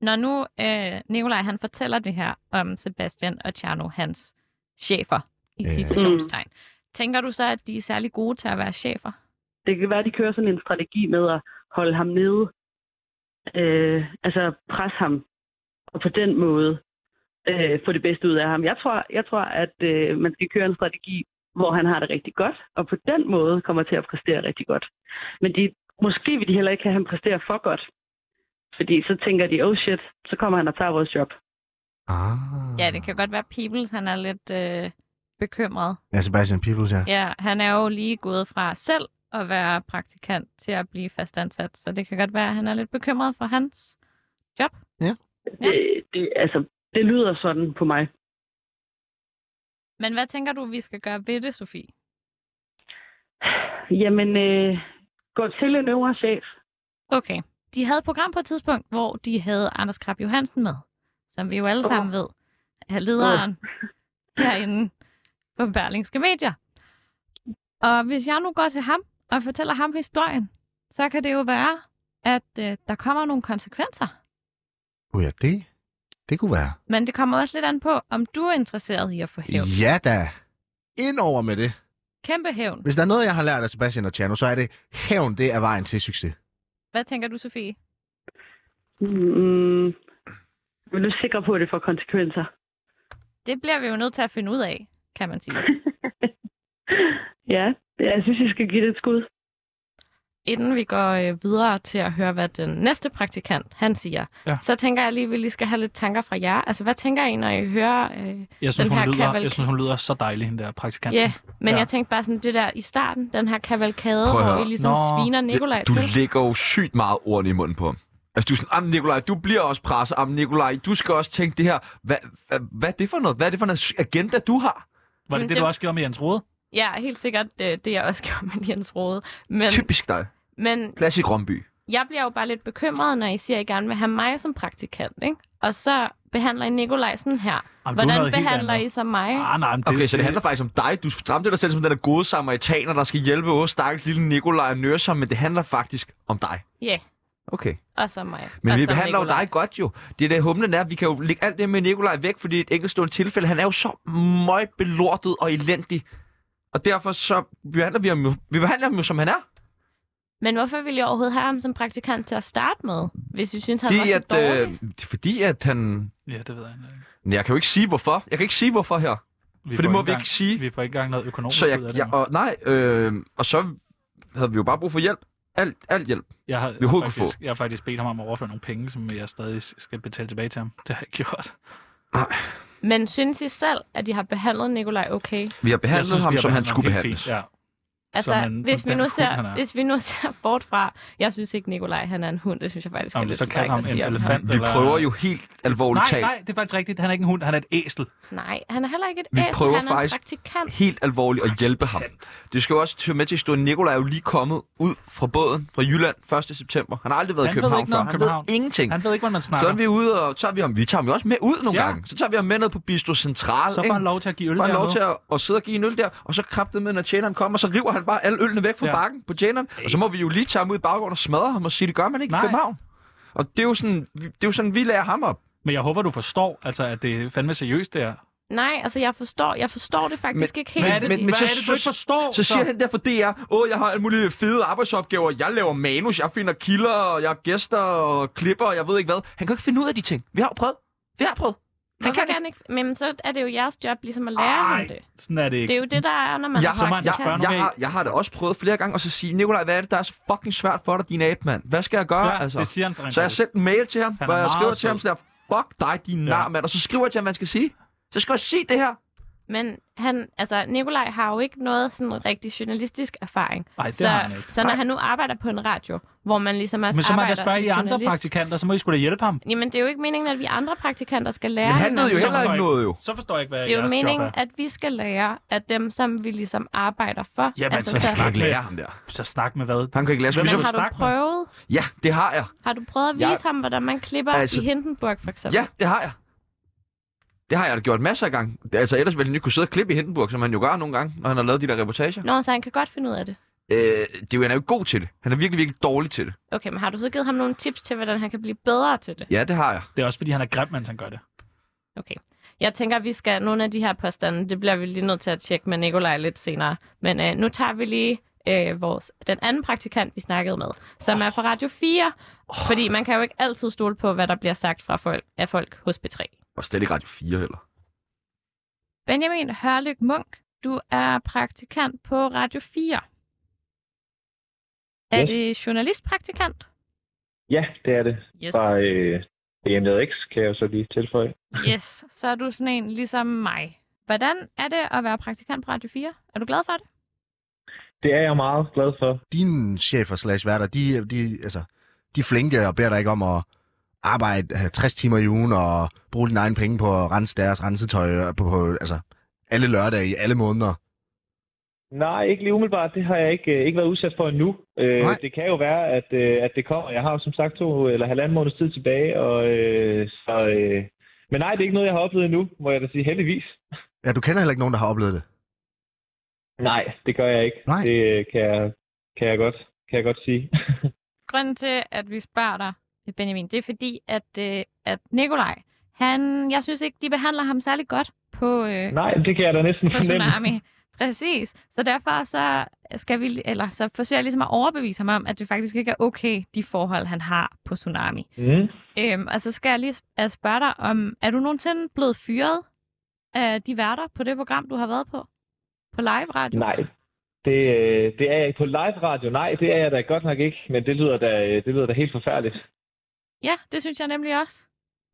Speaker 4: Når nu øh, Nikolaj han fortæller det her om Sebastian og Tjerno, hans chefer, i
Speaker 5: Ja.
Speaker 4: citationstegn, tænker du så, at de er særlig gode til at være chefer?
Speaker 10: Det kan være, at de kører sådan en strategi med at holde ham nede. Øh, altså presse ham. Og på den måde øh, få det bedste ud af ham. Jeg tror, jeg tror at øh, man skal køre en strategi, hvor han har det rigtig godt. Og på den måde kommer til at præstere rigtig godt. Men de, måske vil de heller ikke have, at han præsterer for godt. Fordi så tænker de, oh shit, så kommer han og tager vores job.
Speaker 5: Ah.
Speaker 4: Ja, det kan godt være, at Peoples han er lidt øh, bekymret.
Speaker 5: Ja, Sebastian Peoples, ja.
Speaker 4: Ja, han er jo lige gået fra selv at være praktikant til at blive fastansat, så det kan godt være, at han er lidt bekymret for hans job.
Speaker 10: Det, det, altså, det lyder sådan på mig.
Speaker 4: Men hvad tænker du, vi skal gøre ved det, Sofie?
Speaker 10: Jamen, øh, gå til en øvre chef.
Speaker 4: Okay. De havde et program på et tidspunkt, hvor de havde Anders Krab Johansen med, som vi jo alle sammen ved er lederen herinde på Berlingske Medier. Og hvis jeg nu går til ham og fortæller ham historien, så kan det jo være, at øh, der kommer nogle konsekvenser.
Speaker 5: Gud, ja, det, det kunne være.
Speaker 4: Men det kommer også lidt an på, om du er interesseret i at få hævn.
Speaker 5: Ja da. Ind over med det.
Speaker 4: Kæmpe hævn.
Speaker 5: Hvis der er noget, jeg har lært af Sebastian og Tjerno, så er det, hævn, det er vejen til succes.
Speaker 4: Hvad tænker du, Sofie?
Speaker 10: Mm, men du er sikker på, at det får konsekvenser?
Speaker 4: Det bliver vi jo nødt til at finde ud af, kan man sige.
Speaker 10: Ja, jeg synes, jeg skal give det et skud.
Speaker 4: inden vi går øh, videre til at høre, hvad den næste praktikant, han siger,
Speaker 3: Ja.
Speaker 4: ja. så tænker jeg lige, at vi lige skal have lidt tanker fra jer. Altså, hvad tænker I, når I hører øh,
Speaker 3: Jeg synes,
Speaker 4: den her
Speaker 3: hun lyder,
Speaker 4: kavalkade?
Speaker 3: jeg synes, hun lyder så dejlig, hende der praktikant.
Speaker 4: Ja, men
Speaker 3: Ja.
Speaker 4: ja. jeg tænkte bare sådan, det der i starten, den her kavalkade,
Speaker 2: Prøv at
Speaker 4: hvor
Speaker 2: høre.
Speaker 4: I ligesom
Speaker 2: Nå,
Speaker 4: Nå, sviner Nikolaj
Speaker 2: Du
Speaker 4: til.
Speaker 2: lægger jo sygt meget ord i munden på ham. Altså, du er sådan, am Nikolaj, du bliver også presset. Am Nikolaj, du skal også tænke det her. Hvad, hvad, hvad er det for noget? Hvad er det for en agenda, du har?
Speaker 3: Var det
Speaker 4: Mm,
Speaker 3: det,
Speaker 4: det-
Speaker 3: du også gjorde med Jens Rode?
Speaker 4: Ja, helt sikkert øh, det, jeg også gjorde med Jens Rode. Men,
Speaker 2: Typisk dig.
Speaker 4: men
Speaker 2: Klassisk Romby.
Speaker 4: jeg bliver jo bare lidt bekymret, når I siger, at I gerne vil have mig som praktikant, ikke? Og så behandler I Nikolaj sådan her.
Speaker 3: Jamen, du er
Speaker 4: Hvordan
Speaker 3: noget helt
Speaker 4: behandler
Speaker 3: andet.
Speaker 4: I så mig?
Speaker 3: Ah, nej, men det,
Speaker 2: Okay, så det handler faktisk om dig. Du stramte dig selv som den der gode samaritaner, der skal hjælpe vores stakkels lille Nikolaj og nørse ham, men det handler faktisk om dig.
Speaker 4: Ja, yeah.
Speaker 2: Okay.
Speaker 4: og så mig.
Speaker 2: Men
Speaker 4: og
Speaker 2: vi
Speaker 4: så
Speaker 2: behandler jo
Speaker 4: Nikolaj.
Speaker 2: dig godt jo. Det er det humlen er, vi kan jo lægge alt det med Nikolaj væk, fordi et enkeltstående tilfælde, han er jo så møgbelortet og elendig. Og derfor så behandler vi ham jo, vi behandler ham jo som han er.
Speaker 4: Men hvorfor ville jeg overhovedet have ham som praktikant til at starte med, hvis I synes, han
Speaker 2: Det
Speaker 4: var
Speaker 2: er,
Speaker 4: så dårlig?
Speaker 2: at, øh, det er fordi, at han...
Speaker 3: Ja, det ved jeg ikke.
Speaker 2: Men jeg kan jo ikke sige, hvorfor. Jeg kan ikke sige, hvorfor her.
Speaker 3: Vi
Speaker 2: for det
Speaker 3: får
Speaker 2: må
Speaker 3: ikke
Speaker 2: vi
Speaker 3: engang-
Speaker 2: ikke sige.
Speaker 3: Vi får ikke engang noget økonomisk
Speaker 2: Så
Speaker 3: ud
Speaker 2: jeg,
Speaker 3: af det.
Speaker 2: jeg, og, nej, øh, og så havde vi jo bare brug for hjælp. Alt, alt hjælp.
Speaker 3: jeg, har,
Speaker 2: vi
Speaker 3: har
Speaker 2: overhovedet kunne
Speaker 3: faktisk, jeg har faktisk bedt ham om at overføre nogle penge, som jeg stadig skal betale tilbage til ham. Det har jeg gjort.
Speaker 4: Men synes I selv, at I har behandlet Nikolaj okay?
Speaker 2: Vi har
Speaker 3: Jeg
Speaker 2: behandlet
Speaker 3: synes,
Speaker 2: ham,
Speaker 3: vi har
Speaker 2: som han
Speaker 3: behandlet
Speaker 2: skulle
Speaker 3: ham helt
Speaker 2: behandles.
Speaker 3: fint, Ja.
Speaker 4: Altså,
Speaker 3: Som en-
Speaker 4: hvis,
Speaker 3: som
Speaker 4: vi nu
Speaker 3: den hund, han
Speaker 4: ser,
Speaker 3: er.
Speaker 4: hvis vi nu ser bort fra... Jeg synes ikke, Nikolaj han er en hund. Det synes jeg faktisk er
Speaker 3: Jamen,
Speaker 4: lidt
Speaker 3: så kan
Speaker 4: strengt
Speaker 3: ham
Speaker 4: at
Speaker 3: en
Speaker 4: sige om
Speaker 3: elefant.
Speaker 2: Vi prøver jo helt alvorligt
Speaker 3: Nej,
Speaker 2: talt.
Speaker 3: nej, det er faktisk rigtigt. Han er ikke en hund, han er et æsel.
Speaker 4: Nej, han er heller ikke et
Speaker 2: Vi
Speaker 4: æsel.
Speaker 2: prøver
Speaker 4: Han er en
Speaker 2: faktisk
Speaker 4: praktikant.
Speaker 2: helt alvorligt at hjælpe ham. Det skal jo også tage med til historien. Nikolaj er jo lige kommet ud fra båden fra Jylland 1. september. Han har aldrig været
Speaker 3: Han
Speaker 2: i
Speaker 3: ved
Speaker 2: København
Speaker 3: ikke
Speaker 2: før.
Speaker 3: noget om
Speaker 2: Han
Speaker 3: København.
Speaker 2: ved ingenting.
Speaker 3: Han ved ikke, hvordan man snakker.
Speaker 2: Så er vi ude, og tager vi, ham, vi tager ham jo også med ud nogle
Speaker 3: Ja.
Speaker 2: ja. gange. Så tager vi ham med ned på Bistro Central.
Speaker 3: Så får
Speaker 2: ikke?
Speaker 3: han lov til at give øl
Speaker 2: Får han lov
Speaker 3: dernede.
Speaker 2: til at, at, sidde og give en øl der, og så kraftede med, når tjeneren kommer, så river han bare alle ølene væk fra
Speaker 3: Ja.
Speaker 2: ja. bakken på tjeneren. Og så må vi jo lige tage ham ud i baggården og smadre ham og sige, det gør man ikke
Speaker 3: Nej.
Speaker 2: i København. Og det er jo sådan, vi- det er jo sådan vi lærer ham op.
Speaker 3: Men jeg håber, du forstår, altså, at det er fandme seriøst, det her.
Speaker 4: Nej, altså jeg forstår, jeg forstår det faktisk ikke helt.
Speaker 3: forstår?
Speaker 2: Så siger han der for DR, åh, jeg har alle mulige fede arbejdsopgaver, jeg laver manus, jeg finder kilder, og jeg har gæster og klipper, og jeg ved ikke hvad. Han kan ikke finde ud af de ting. Vi har jo prøvet. Vi har prøvet.
Speaker 4: Han kan ikke. Men så er det jo jeres job ligesom at lære ham det.
Speaker 3: Sådan er det
Speaker 4: Det
Speaker 3: ikke.
Speaker 4: er jo det, der er, når man
Speaker 2: Jeg
Speaker 4: er
Speaker 2: har, jeg,
Speaker 4: praktikant.
Speaker 2: jeg, jeg, har, jeg har da også prøvet flere gange, og så sige, Nikolaj, hvad er det, der er så fucking svært for dig, din abe, mand? Hvad skal jeg gøre?
Speaker 3: Ja, det siger han for en
Speaker 2: Altså, så jeg
Speaker 3: god.
Speaker 2: sendte en mail til ham,
Speaker 3: Han
Speaker 2: hvor
Speaker 3: er
Speaker 2: jeg
Speaker 3: meget
Speaker 2: skriver til
Speaker 3: sød.
Speaker 2: ham sådan der, fuck dig, din nar, mand. Og så skriver jeg til ham, hvad han skal sige. Så skal jeg sige det her.
Speaker 4: Men han, altså, Nikolaj har jo ikke noget sådan rigtig journalistisk erfaring.
Speaker 3: Ej, det
Speaker 4: så,
Speaker 3: har han ikke.
Speaker 4: så når
Speaker 3: Nej.
Speaker 4: han nu arbejder på en radio, hvor man ligesom også
Speaker 3: Men så må
Speaker 4: arbejder
Speaker 3: jeg spørge
Speaker 4: som
Speaker 3: I andre
Speaker 4: journalist.
Speaker 3: praktikanter, så må I skulle da hjælpe ham.
Speaker 4: Jamen, det er jo ikke meningen, at vi andre praktikanter skal lære
Speaker 3: Men han
Speaker 4: hinanden.
Speaker 3: ved jo
Speaker 4: Så-
Speaker 3: heller ikke noget,
Speaker 2: jo.
Speaker 3: Så forstår jeg ikke, hvad
Speaker 4: Det er jo
Speaker 3: jeres job
Speaker 4: meningen,
Speaker 3: er.
Speaker 4: at vi skal lære af dem, som vi ligesom arbejder for. Altså,
Speaker 3: Jamen, så
Speaker 4: så-
Speaker 3: snak med-
Speaker 2: der.
Speaker 3: Så snak med hvad?
Speaker 2: Han kan ikke lære
Speaker 3: Hvem
Speaker 2: skal
Speaker 4: Men
Speaker 2: vi
Speaker 4: har du
Speaker 2: så snakke med?
Speaker 4: prøvet?
Speaker 2: Ja, det har jeg.
Speaker 4: Har du prøvet at vise
Speaker 2: Jeg-
Speaker 4: ham, hvordan man klipper
Speaker 2: Altså-
Speaker 4: i Hindenburg, for eksempel?
Speaker 2: Ja, det har jeg. Det har jeg da gjort masser af gange. Det- Altså, ellers ville han jo kunne sidde og klippe i Hindenburg, som han jo gør nogle gange, når han har lavet de der reportager.
Speaker 4: Nå, så han kan godt finde ud af det.
Speaker 2: Øh, det er jo, han er jo god til det. Han er virkelig, virkelig dårlig til det.
Speaker 4: Okay, men har du så givet ham nogle tips til, hvordan han kan blive bedre til det?
Speaker 2: Ja, det har jeg.
Speaker 3: Det er også fordi, han er grim, mens han gør det.
Speaker 4: Okay. Jeg tænker, at vi skal nogle af de her påstande, det bliver vi lige nødt til at tjekke med Nikolaj lidt senere. Men øh, nu tager vi lige øh, vores, den anden praktikant, vi snakkede med, som er fra Radio 4. Fordi man kan jo ikke altid stole på, hvad der bliver sagt fra folk, af folk hos B3.
Speaker 2: Og slet ikke Radio 4 heller.
Speaker 4: Benjamin Hørlyk Munk, du er praktikant på Radio 4. Er
Speaker 11: Yes.
Speaker 4: det journalistpraktikant?
Speaker 11: Ja, det er det.
Speaker 4: Yes.
Speaker 11: Fra øh, DMDX kan jeg jo så lige tilføje.
Speaker 4: Yes, så er du sådan en ligesom mig. Hvordan er det at være praktikant på Radio 4? Er du glad for det?
Speaker 11: Det er jeg meget glad for.
Speaker 5: Dine chefer slash værter, de, de, altså, de er flinke og beder dig ikke om at arbejde øh, 60 timer i ugen og bruge dine egne penge på at rense deres rensetøj øh, på, på altså, alle lørdage i alle måneder.
Speaker 11: Nej, ikke lige umiddelbart. Det har jeg ikke, øh, ikke været udsat for endnu. Øh,
Speaker 5: Nej.
Speaker 11: det kan jo være, at, øh, at det kommer. Jeg har jo som sagt to eller halvanden måneds tid tilbage. Og, øh, så, øh, men nej, det er ikke noget, jeg har oplevet endnu, må jeg da sige heldigvis.
Speaker 5: Ja, du kender heller ikke nogen, der har oplevet det.
Speaker 11: Nej, det gør jeg ikke. Nej. Det øh, kan jeg, kan jeg, godt, kan jeg godt sige.
Speaker 4: Grunden til, at vi spørger dig, Benjamin, det er fordi, at, øh, at Nikolaj, han, jeg synes ikke, de behandler ham særlig godt på, øh,
Speaker 11: nej, det kan jeg da næsten
Speaker 4: på
Speaker 11: fornemme.
Speaker 4: Tsunami. Præcis. Så derfor så skal vi, eller så forsøger jeg ligesom at overbevise ham om, at det faktisk ikke er okay, de forhold, han har på Tsunami.
Speaker 11: Mm.
Speaker 4: Øhm, og så skal jeg lige sp- øh, spørge dig om, er du nogensinde blevet fyret af de værter på det program, du har været på? På live radio?
Speaker 11: Nej, det, øh, det er jeg ikke på live radio. Nej, det er jeg da godt nok ikke, men det lyder da, øh, det lyder da helt forfærdeligt.
Speaker 4: Ja, det synes jeg nemlig også.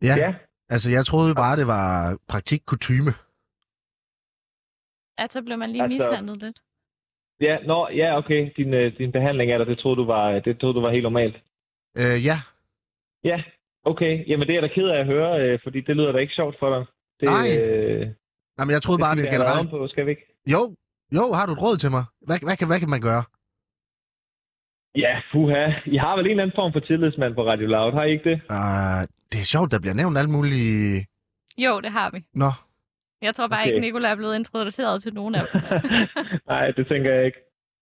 Speaker 5: Ja. ja. Altså, jeg troede jo bare, det var praktikkutume.
Speaker 4: At så blev man lige
Speaker 11: Altså-
Speaker 4: mishandlet lidt.
Speaker 11: Ja, nå, ja, okay. Din, øh, din behandling af dig, det troede du var, det troede du var helt normalt.
Speaker 5: Øh, ja.
Speaker 11: Ja, okay. Jamen, det er jeg da ked af at høre, øh, fordi det lyder da ikke sjovt for dig. Det,
Speaker 5: Nej.
Speaker 11: Øh,
Speaker 5: Nej, men jeg troede bare, det,
Speaker 11: skal
Speaker 5: det
Speaker 11: vi da have
Speaker 5: generelt...
Speaker 11: navn På, skal vi ikke?
Speaker 5: Jo, jo, har du et råd til mig? Hvad, hvad, kan, hvad kan man gøre?
Speaker 11: Ja, fuha. I har vel en eller anden form for tillidsmand på Radio Loud, har I ikke det?
Speaker 5: Uh, det er sjovt, der bliver nævnt alle mulige...
Speaker 4: Jo, det har vi.
Speaker 5: Nå,
Speaker 4: Jeg tror bare
Speaker 11: Okay.
Speaker 4: okay. ikke, Nicolai er blevet introduceret til nogen af dem.
Speaker 11: Nej, det tænker jeg ikke.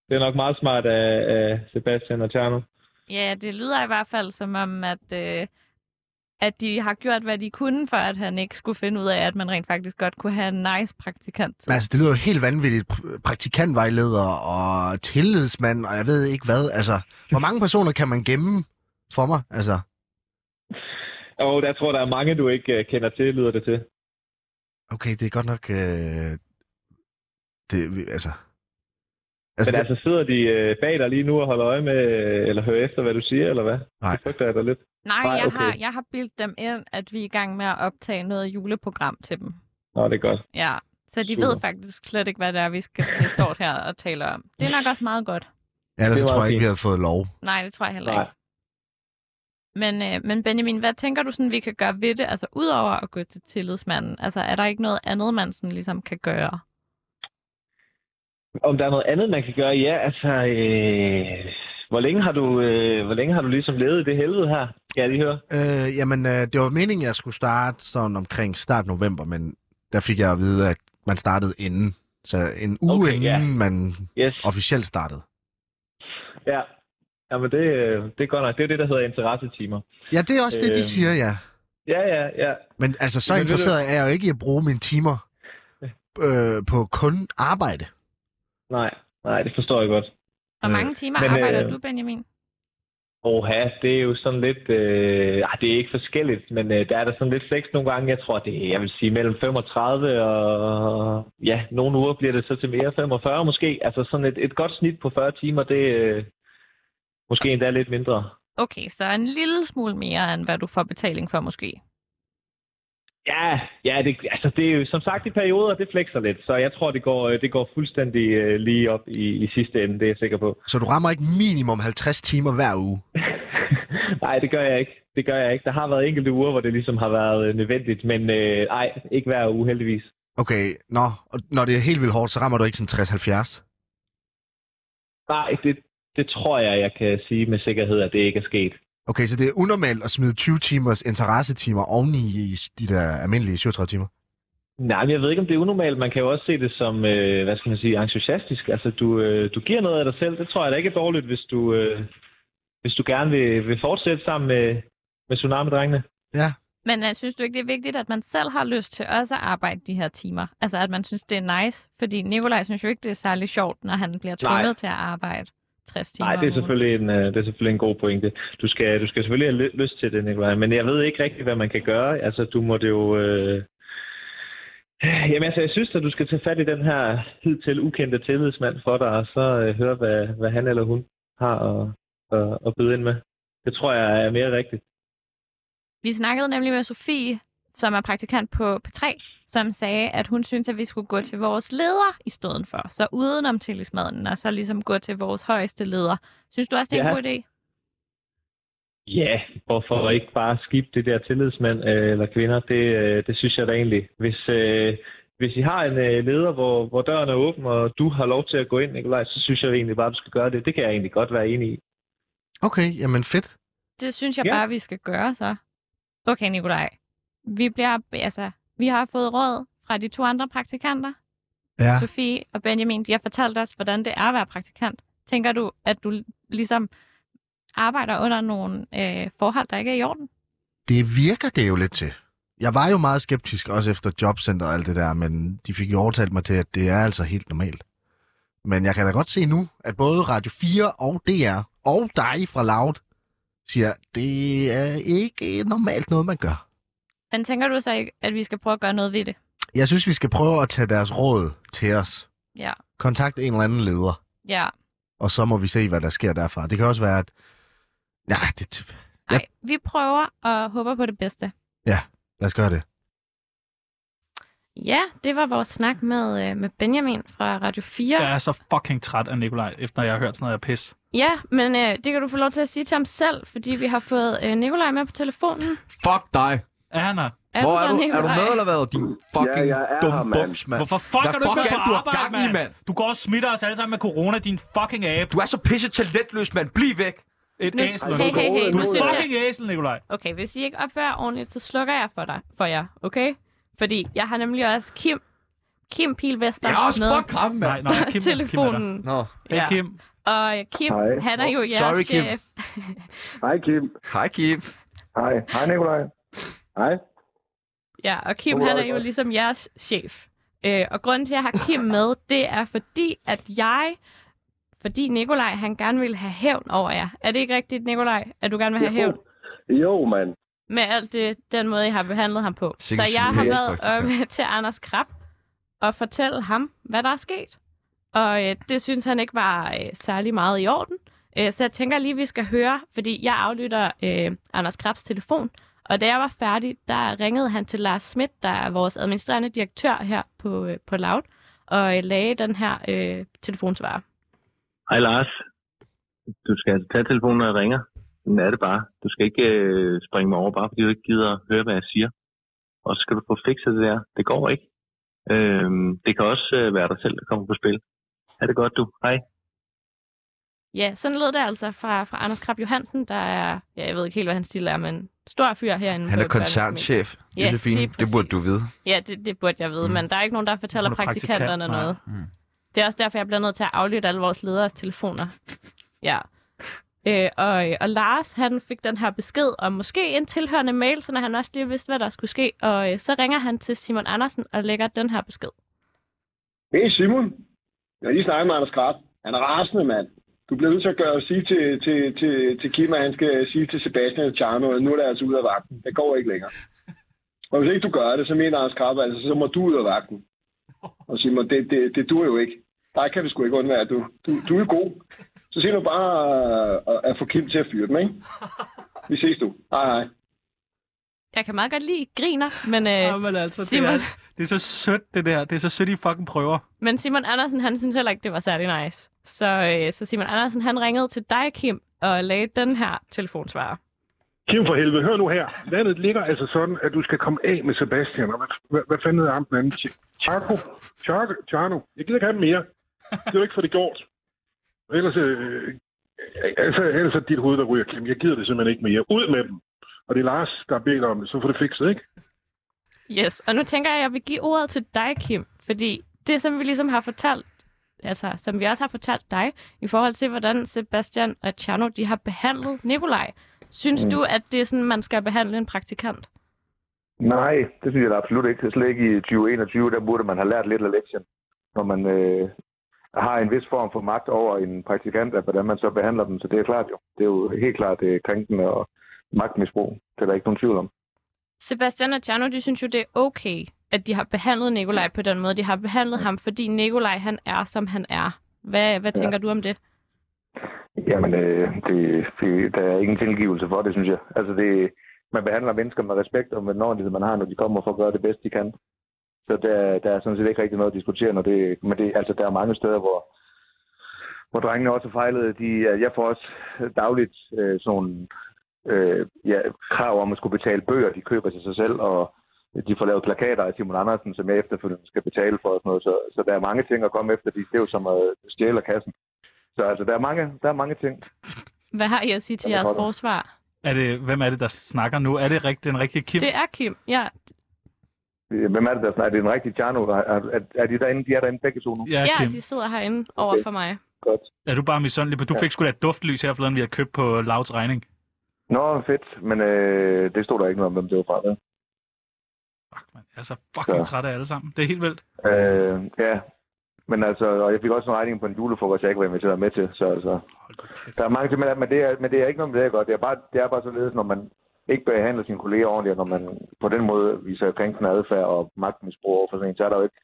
Speaker 11: Det er nok meget smart af, af Sebastian og Tjerno.
Speaker 4: ja, det lyder i hvert fald som om, at, øh, at de har gjort, hvad de kunne, for at han ikke skulle finde ud af, at man rent faktisk godt kunne have en nice praktikant.
Speaker 5: men altså, det lyder jo helt vanvittigt. Pr- Praktikantvejleder og tillidsmand, og jeg ved ikke hvad. Altså, hvor mange personer kan man gemme for mig? Altså,
Speaker 11: Og der tror, der er mange, du ikke øh, kender til, lyder det til.
Speaker 5: okay, det er godt nok... Øh... Det, altså...
Speaker 11: Altså, Men
Speaker 5: det-
Speaker 11: altså, sidder de øh, bag dig lige nu og holder øje med, øh, eller hører efter, hvad du siger, eller hvad?
Speaker 5: Nej.
Speaker 11: Det frygter jeg da lidt.
Speaker 4: Nej,
Speaker 11: Nej,
Speaker 4: jeg,
Speaker 11: okay.
Speaker 4: har, jeg har bildt dem ind, at vi er i gang med at optage noget juleprogram til dem.
Speaker 11: Nå, det er godt.
Speaker 4: Ja, Så de
Speaker 5: Super.
Speaker 4: ved faktisk slet ikke, hvad det er, vi, skal, vi står her og taler om. Det er nok også meget godt.
Speaker 5: Ja, ellers
Speaker 4: Det
Speaker 5: så
Speaker 4: var
Speaker 5: tror jeg ikke,
Speaker 4: fint.
Speaker 5: vi havde fået lov.
Speaker 4: Nej, det tror jeg heller
Speaker 5: Nej.
Speaker 4: ikke. Men, øh, men Benjamin, hvad tænker du, sådan, vi kan gøre ved det? Altså, udover at gå til tillidsmanden, altså, er der ikke noget andet, man sådan, ligesom kan gøre?
Speaker 11: Om der er noget andet, man kan gøre? Ja, altså... Øh, hvor, længe har du, øh, hvor længe har du ligesom levet i det helvede her? Skal jeg lige høre?
Speaker 5: Øh, jamen, øh, det var meningen, at jeg skulle starte sådan omkring start november, men der fik jeg at vide, at man startede inden. Så en uge okay,
Speaker 11: Okay,
Speaker 5: inden
Speaker 11: ja.
Speaker 5: man
Speaker 11: yes.
Speaker 5: officielt startede.
Speaker 11: Ja. Jamen, det, øh, det er godt nok. Det er det, der hedder interessetimer.
Speaker 5: Ja, det er også øh... det, de
Speaker 11: Øhm.
Speaker 5: siger, ja.
Speaker 11: Ja, ja, ja.
Speaker 5: Men altså, så
Speaker 11: Men ved du-
Speaker 5: interesseret er jeg jo ikke i at bruge mine timer øh, på kun arbejde.
Speaker 11: Nej, nej, det forstår jeg godt.
Speaker 4: Hvor mange timer
Speaker 11: men,
Speaker 4: men,
Speaker 11: øh,
Speaker 4: arbejder øh... du, Benjamin?
Speaker 11: Åha, det er jo sådan lidt... Øh, ah, det er ikke forskelligt, men øh, der er der sådan lidt flex nogle gange. Jeg tror, det er, jeg vil sige, mellem 35 og... Ja, nogle uger bliver det så til mere 45 måske. Altså sådan et, et godt snit på 40 timer, det øh, måske endda lidt mindre.
Speaker 4: Okay, så en lille smule mere, end hvad du får betaling for, måske.
Speaker 11: Ja, ja det, altså det er jo som sagt i perioder, det flexer lidt. Så jeg tror, det går, øh, det går fuldstændig øh, lige op i, i sidste ende, det er jeg sikker på.
Speaker 5: Så du rammer ikke minimum 50 timer hver uge?
Speaker 11: Nej, det gør jeg ikke. Det gør jeg ikke. Der har været enkelte uger, hvor det ligesom har været øh, nødvendigt, men øh, ej, ikke hver uge heldigvis.
Speaker 5: Okay, nå, og når det er helt vildt hårdt, så rammer du ikke sådan 60-70?
Speaker 11: Nej, det, det tror jeg, jeg kan sige med sikkerhed, at det ikke er sket.
Speaker 5: Okay, så det er unormalt at smide 20 timers interessetimer oveni i de der almindelige 37 timer?
Speaker 11: Nej, men jeg ved ikke, om det er unormalt. Man kan jo også se det som, øh, hvad skal man sige, entusiastisk. Altså, du, øh, du giver noget af dig selv. Det tror jeg da ikke er dårligt, hvis du, øh, hvis du gerne vil, vil fortsætte sammen med, med Tsunami-drengene.
Speaker 4: Men uh, synes du ikke, det er vigtigt, at man selv har lyst til også at arbejde de her timer? Altså, at man synes, det er nice? Fordi Nikolaj synes jo ikke, det er særlig sjovt, når han bliver
Speaker 11: Nej.
Speaker 4: tvunget til at arbejde 60 timer
Speaker 11: Nej, det er
Speaker 4: om ugen.
Speaker 11: selvfølgelig en, øh, det er selvfølgelig en god pointe. Du skal, du skal selvfølgelig have ly- lyst til det, Nicolaj, men jeg ved ikke rigtig, hvad man kan gøre. Altså, du må det jo... Øh... Jamen altså, jeg synes, at du skal tage fat i den her hidtil ukendte tillidsmand for dig, og så øh, høre, hvad, hvad han eller hun har at, at, at byde ind med. Det tror jeg er mere rigtigt.
Speaker 4: Vi snakkede nemlig med Sofie, som er praktikant på P3, som sagde, at hun synes, at vi skulle gå til vores leder i stedet for. Så udenom tillidsmaden, og så ligesom gå til vores højeste leder. Synes du også, det er en
Speaker 11: Ja.
Speaker 4: god idé?
Speaker 11: Ja, hvorfor ikke bare skifte det der tillidsmand øh, eller kvinder? Det, øh, det synes jeg da egentlig. Hvis, øh, hvis I har en øh, leder, hvor, hvor døren er åben, og du har lov til at gå ind, Nikolaj, så synes jeg egentlig bare, du skal gøre det. Det kan jeg egentlig godt være enig i.
Speaker 5: Okay, jamen fedt.
Speaker 4: Det synes jeg
Speaker 11: Ja.
Speaker 4: bare, vi skal gøre så. Okay, Nikolaj. Vi, bliver, altså, vi har fået råd fra de to andre praktikanter.
Speaker 5: Ja.
Speaker 4: Sofie og Benjamin, de har fortalt os, hvordan det er at være praktikant. Tænker du, at du ligesom arbejder under nogle øh, forhold, der ikke er i orden?
Speaker 5: Det virker det jo lidt til. Jeg var jo meget skeptisk, også efter jobcenter og alt det der, men de fik jo overtalt mig til, at det er altså helt normalt. Men jeg kan da godt se nu, at både Radio 4 og DR og dig fra Loud siger, det er ikke normalt noget, man gør.
Speaker 4: Men tænker du så ikke, at vi skal prøve at gøre noget ved det?
Speaker 5: Jeg synes, vi skal prøve at tage deres råd til os.
Speaker 4: Ja.
Speaker 5: Kontakt en eller anden leder,
Speaker 4: Ja.
Speaker 5: og så må vi se, hvad der sker derfra. Det kan også være, at... Ja, det...
Speaker 4: Ej, vi prøver og håber på det bedste.
Speaker 5: ja lad os gøre det.
Speaker 4: Ja, det var vores snak med, øh, med Benjamin fra Radio 4.
Speaker 3: Jeg er så fucking træt af Nikolaj, efter jeg har hørt sådan noget af pis.
Speaker 4: Ja, men øh, det kan du få lov til at sige til ham selv, fordi vi har fået øh, Nikolaj med på telefonen.
Speaker 2: Fuck dig.
Speaker 3: Er han her?
Speaker 4: Er
Speaker 2: Hvor
Speaker 4: du
Speaker 2: er
Speaker 4: der,
Speaker 2: du? Er du
Speaker 4: Nikolaj?
Speaker 2: med eller hvad, din fucking
Speaker 3: Ja, jeg er
Speaker 2: dumme
Speaker 3: her, mand.
Speaker 2: bums, mand?
Speaker 3: Hvorfor fuck
Speaker 2: Hvad
Speaker 3: er du ikke
Speaker 2: fuck
Speaker 3: med
Speaker 2: er
Speaker 3: på
Speaker 2: du har
Speaker 3: arbejde,
Speaker 2: gang i,
Speaker 3: mand?
Speaker 2: mand?
Speaker 3: Du går og smitter os alle sammen med corona, din fucking abe.
Speaker 2: Du er så pisse talentløs, mand. Bliv væk.
Speaker 3: Et
Speaker 4: Nu-
Speaker 3: æsel.
Speaker 4: Hey, hey, hey,
Speaker 3: du
Speaker 4: nu synes
Speaker 3: er
Speaker 4: jeg-
Speaker 3: fucking æsel, Nikolaj.
Speaker 4: Okay, hvis I ikke opfører jer ordentligt, så slukker jeg for dig, for jer, okay? Fordi jeg har nemlig også Kim, Kim Pilvester
Speaker 2: Jeg er også
Speaker 4: med
Speaker 2: fuck ham, mand.
Speaker 3: Nej, nej, Kim,
Speaker 4: telefonen.
Speaker 2: Nå.
Speaker 3: Hey, Kim.
Speaker 4: Og Kim,
Speaker 2: Hej.
Speaker 4: han er jo jeres
Speaker 2: Sorry, Kim.
Speaker 4: chef.
Speaker 2: Hej, Kim. Hej, Kim.
Speaker 7: Hej. Hej, Nikolaj. Hej.
Speaker 4: Ja, og Kim,
Speaker 7: Godmorgen,
Speaker 4: han er jo
Speaker 7: Nikolaj.
Speaker 4: ligesom jeres chef. Øh, og grunden til, at jeg har Kim med, det er fordi, at jeg, fordi Nikolaj, han gerne vil have hævn over jer. Er det ikke rigtigt, Nikolaj, at du gerne vil have
Speaker 7: Jo.
Speaker 4: hævn?
Speaker 7: Jo, mand.
Speaker 4: Med alt det, den måde, I har behandlet ham på.
Speaker 7: Sikke
Speaker 4: Så
Speaker 7: en
Speaker 4: jeg har
Speaker 7: psykopat,
Speaker 4: været
Speaker 7: praktikant.
Speaker 4: op til Anders Krab og fortælle ham, hvad der er sket. Og øh, det synes han ikke var øh, særlig meget i orden. Øh, så jeg tænker lige, vi skal høre, fordi jeg aflytter øh, Anders Krabs telefon, Og da jeg var færdig, der ringede han til Lars Schmidt, der er vores administrerende direktør her på, øh, på Loud, og øh, lagde den her øh, telefonsvarer.
Speaker 12: Hej Lars. Du skal altså tage telefonen, når jeg ringer. Den er det bare. Du skal ikke øh, springe mig over, bare fordi du ikke gider at høre, hvad jeg siger. Og så skal du få fikset det der. Det går ikke. Øhm, det kan også øh, være dig selv, der kommer på spil. Er det godt, du? Hej.
Speaker 4: Ja, sådan lød det altså fra, fra Anders Krab Johansen, der er, ja, jeg ved ikke helt, hvad hans stil er, men stor fyr herinde.
Speaker 13: Han er
Speaker 4: på Børnes
Speaker 13: koncernchef,
Speaker 4: Medie. Ja,
Speaker 13: Josefine.
Speaker 4: lige
Speaker 13: Det burde du vide.
Speaker 4: Ja, det, det burde jeg vide, mm. men der er ikke nogen, der fortæller
Speaker 13: Hun er praktikant,
Speaker 4: praktikanterne
Speaker 13: nej.
Speaker 4: noget.
Speaker 13: Mm.
Speaker 4: Det er også derfor, jeg bliver nødt til at aflytte alle vores lederes telefoner. Ja. Øh, og, og Lars, han fik den her besked og måske en tilhørende mail, så når han også lige vidste, hvad der skulle ske. Og øh, så ringer han til Simon Andersen og lægger den her besked.
Speaker 14: Hey Simon. Jeg har lige snakket med Anders Kraft. Han er rasende, mand. Du bliver nødt til at gøre sige til, til, til, til Kim, at han skal sige til Sebastian og Tjerno, at nu er det altså ud af vagten. Det går ikke længere. Og hvis ikke du gør det, så mener Anders Kraft, altså, så må du ud af vagten. Og Simon, det, det, det duer jo ikke. Der kan vi sgu ikke undvære. Du, du, du er god. Så siger du bare øh, at få Kim til at fyre dem, ikke? Vi ses du. Hej, hej.
Speaker 4: Jeg kan meget godt lide griner, men, øh, ja, men altså, Simon,
Speaker 3: Det, er, det er så sødt, det der. Det er så sødt, I fucking prøver.
Speaker 4: Men Simon Andersen, han synes heller ikke, det var særlig nice. Så, øh, så Simon Andersen, han ringede til dig, Kim, og lagde den her telefonsvarer.
Speaker 15: Kim for helvede, hør nu her. Landet ligger altså sådan, at du skal komme af med Sebastian. Og hvad, hvad, hvad fanden hedder ham den anden? Charco? Charco? Charno? Jeg gider ikke have ham mere. Det er jo ikke for det gjort. Og Ellers, øh, altså, ellers er dit hoved, der ryger, Kim. Jeg gider det simpelthen ikke mere. Ud med dem. Og det er Lars, der beder om det. Så får det fikset, ikke?
Speaker 4: Yes, og nu tænker jeg, at jeg vil give ordet til dig, Kim, fordi det, som vi ligesom har fortalt, altså som vi også har fortalt dig, i forhold til, hvordan Sebastian og Tjerno, de har behandlet Nikolaj. Synes
Speaker 7: Mm.
Speaker 4: mm. du, at det er sådan, man skal behandle en praktikant?
Speaker 7: Nej, det synes jeg da absolut ikke. Slet ikke i 2021, der burde man have lært lidt af lektien. Når man øh, har en vis form for magt over en praktikant, at hvordan man så behandler dem. Så det er klart jo. Det er jo helt klart øh, krænkende og magtmisbrug. Det er der ikke nogen tvivl om.
Speaker 4: Sebastian og Tjerno, de synes jo, det er okay, at de har behandlet Nikolaj på den måde, de har behandlet ham, fordi Nikolaj, han er, som han er. Hvad, hvad
Speaker 7: Ja.
Speaker 4: tænker du om det?
Speaker 7: Jamen, øh, det, det, der er ingen tilgivelse for det, synes jeg. Altså, det, man behandler mennesker med respekt og med den ordentlighed, man har, når de kommer for at gøre det bedste, de kan. Så der, der er sådan set ikke rigtig noget at diskutere, når det, men det, altså, der er mange steder, hvor, hvor drengene også fejlede. De, jeg får også dagligt øh, sådan nogle, øh, ja, krav om at skulle betale bøger, de køber til sig selv, og de får lavet plakater af Simon Andersen, som jeg efterfølgende skal betale for og sådan noget. Så, så der er mange ting at komme efter. De, det er jo som at stjæle af kassen. Så altså, der er mange, der er mange ting.
Speaker 4: Hvad har I at sige til jeres
Speaker 7: godt.
Speaker 4: forsvar?
Speaker 3: Er det, hvem er det, der snakker nu? Er det rigt, den rigtige Kim?
Speaker 4: Det er Kim, ja.
Speaker 7: Hvem er det, der snakker? Er det en rigtig Tjerno? Er, er, er, de derinde? De er derinde begge to nu.
Speaker 4: Ja, ja de sidder herinde over okay. for mig.
Speaker 7: Godt.
Speaker 3: Er du bare misundelig på? Du
Speaker 7: Ja.
Speaker 3: fik sgu da et duftlys her forleden, vi har købt på Lauts regning.
Speaker 7: Nå, fedt. Men øh, det stod der ikke noget om, hvem det var fra. vel?
Speaker 3: Jeg er så fucking
Speaker 7: Ja.
Speaker 3: ja. træt af alle sammen. Det er helt vildt.
Speaker 7: Øh, ja. Men altså, og jeg fik også en regning på en julefrokost, jeg ikke var inviteret med til. Så altså, der er mange ting, men, men, det er, men det er ikke noget med det, godt. Det er bare, det er bare således, når man ikke behandler sine kolleger ordentligt, og når man på den måde viser krænkende adfærd og magtmisbrug overfor sådan en, så er der jo ikke,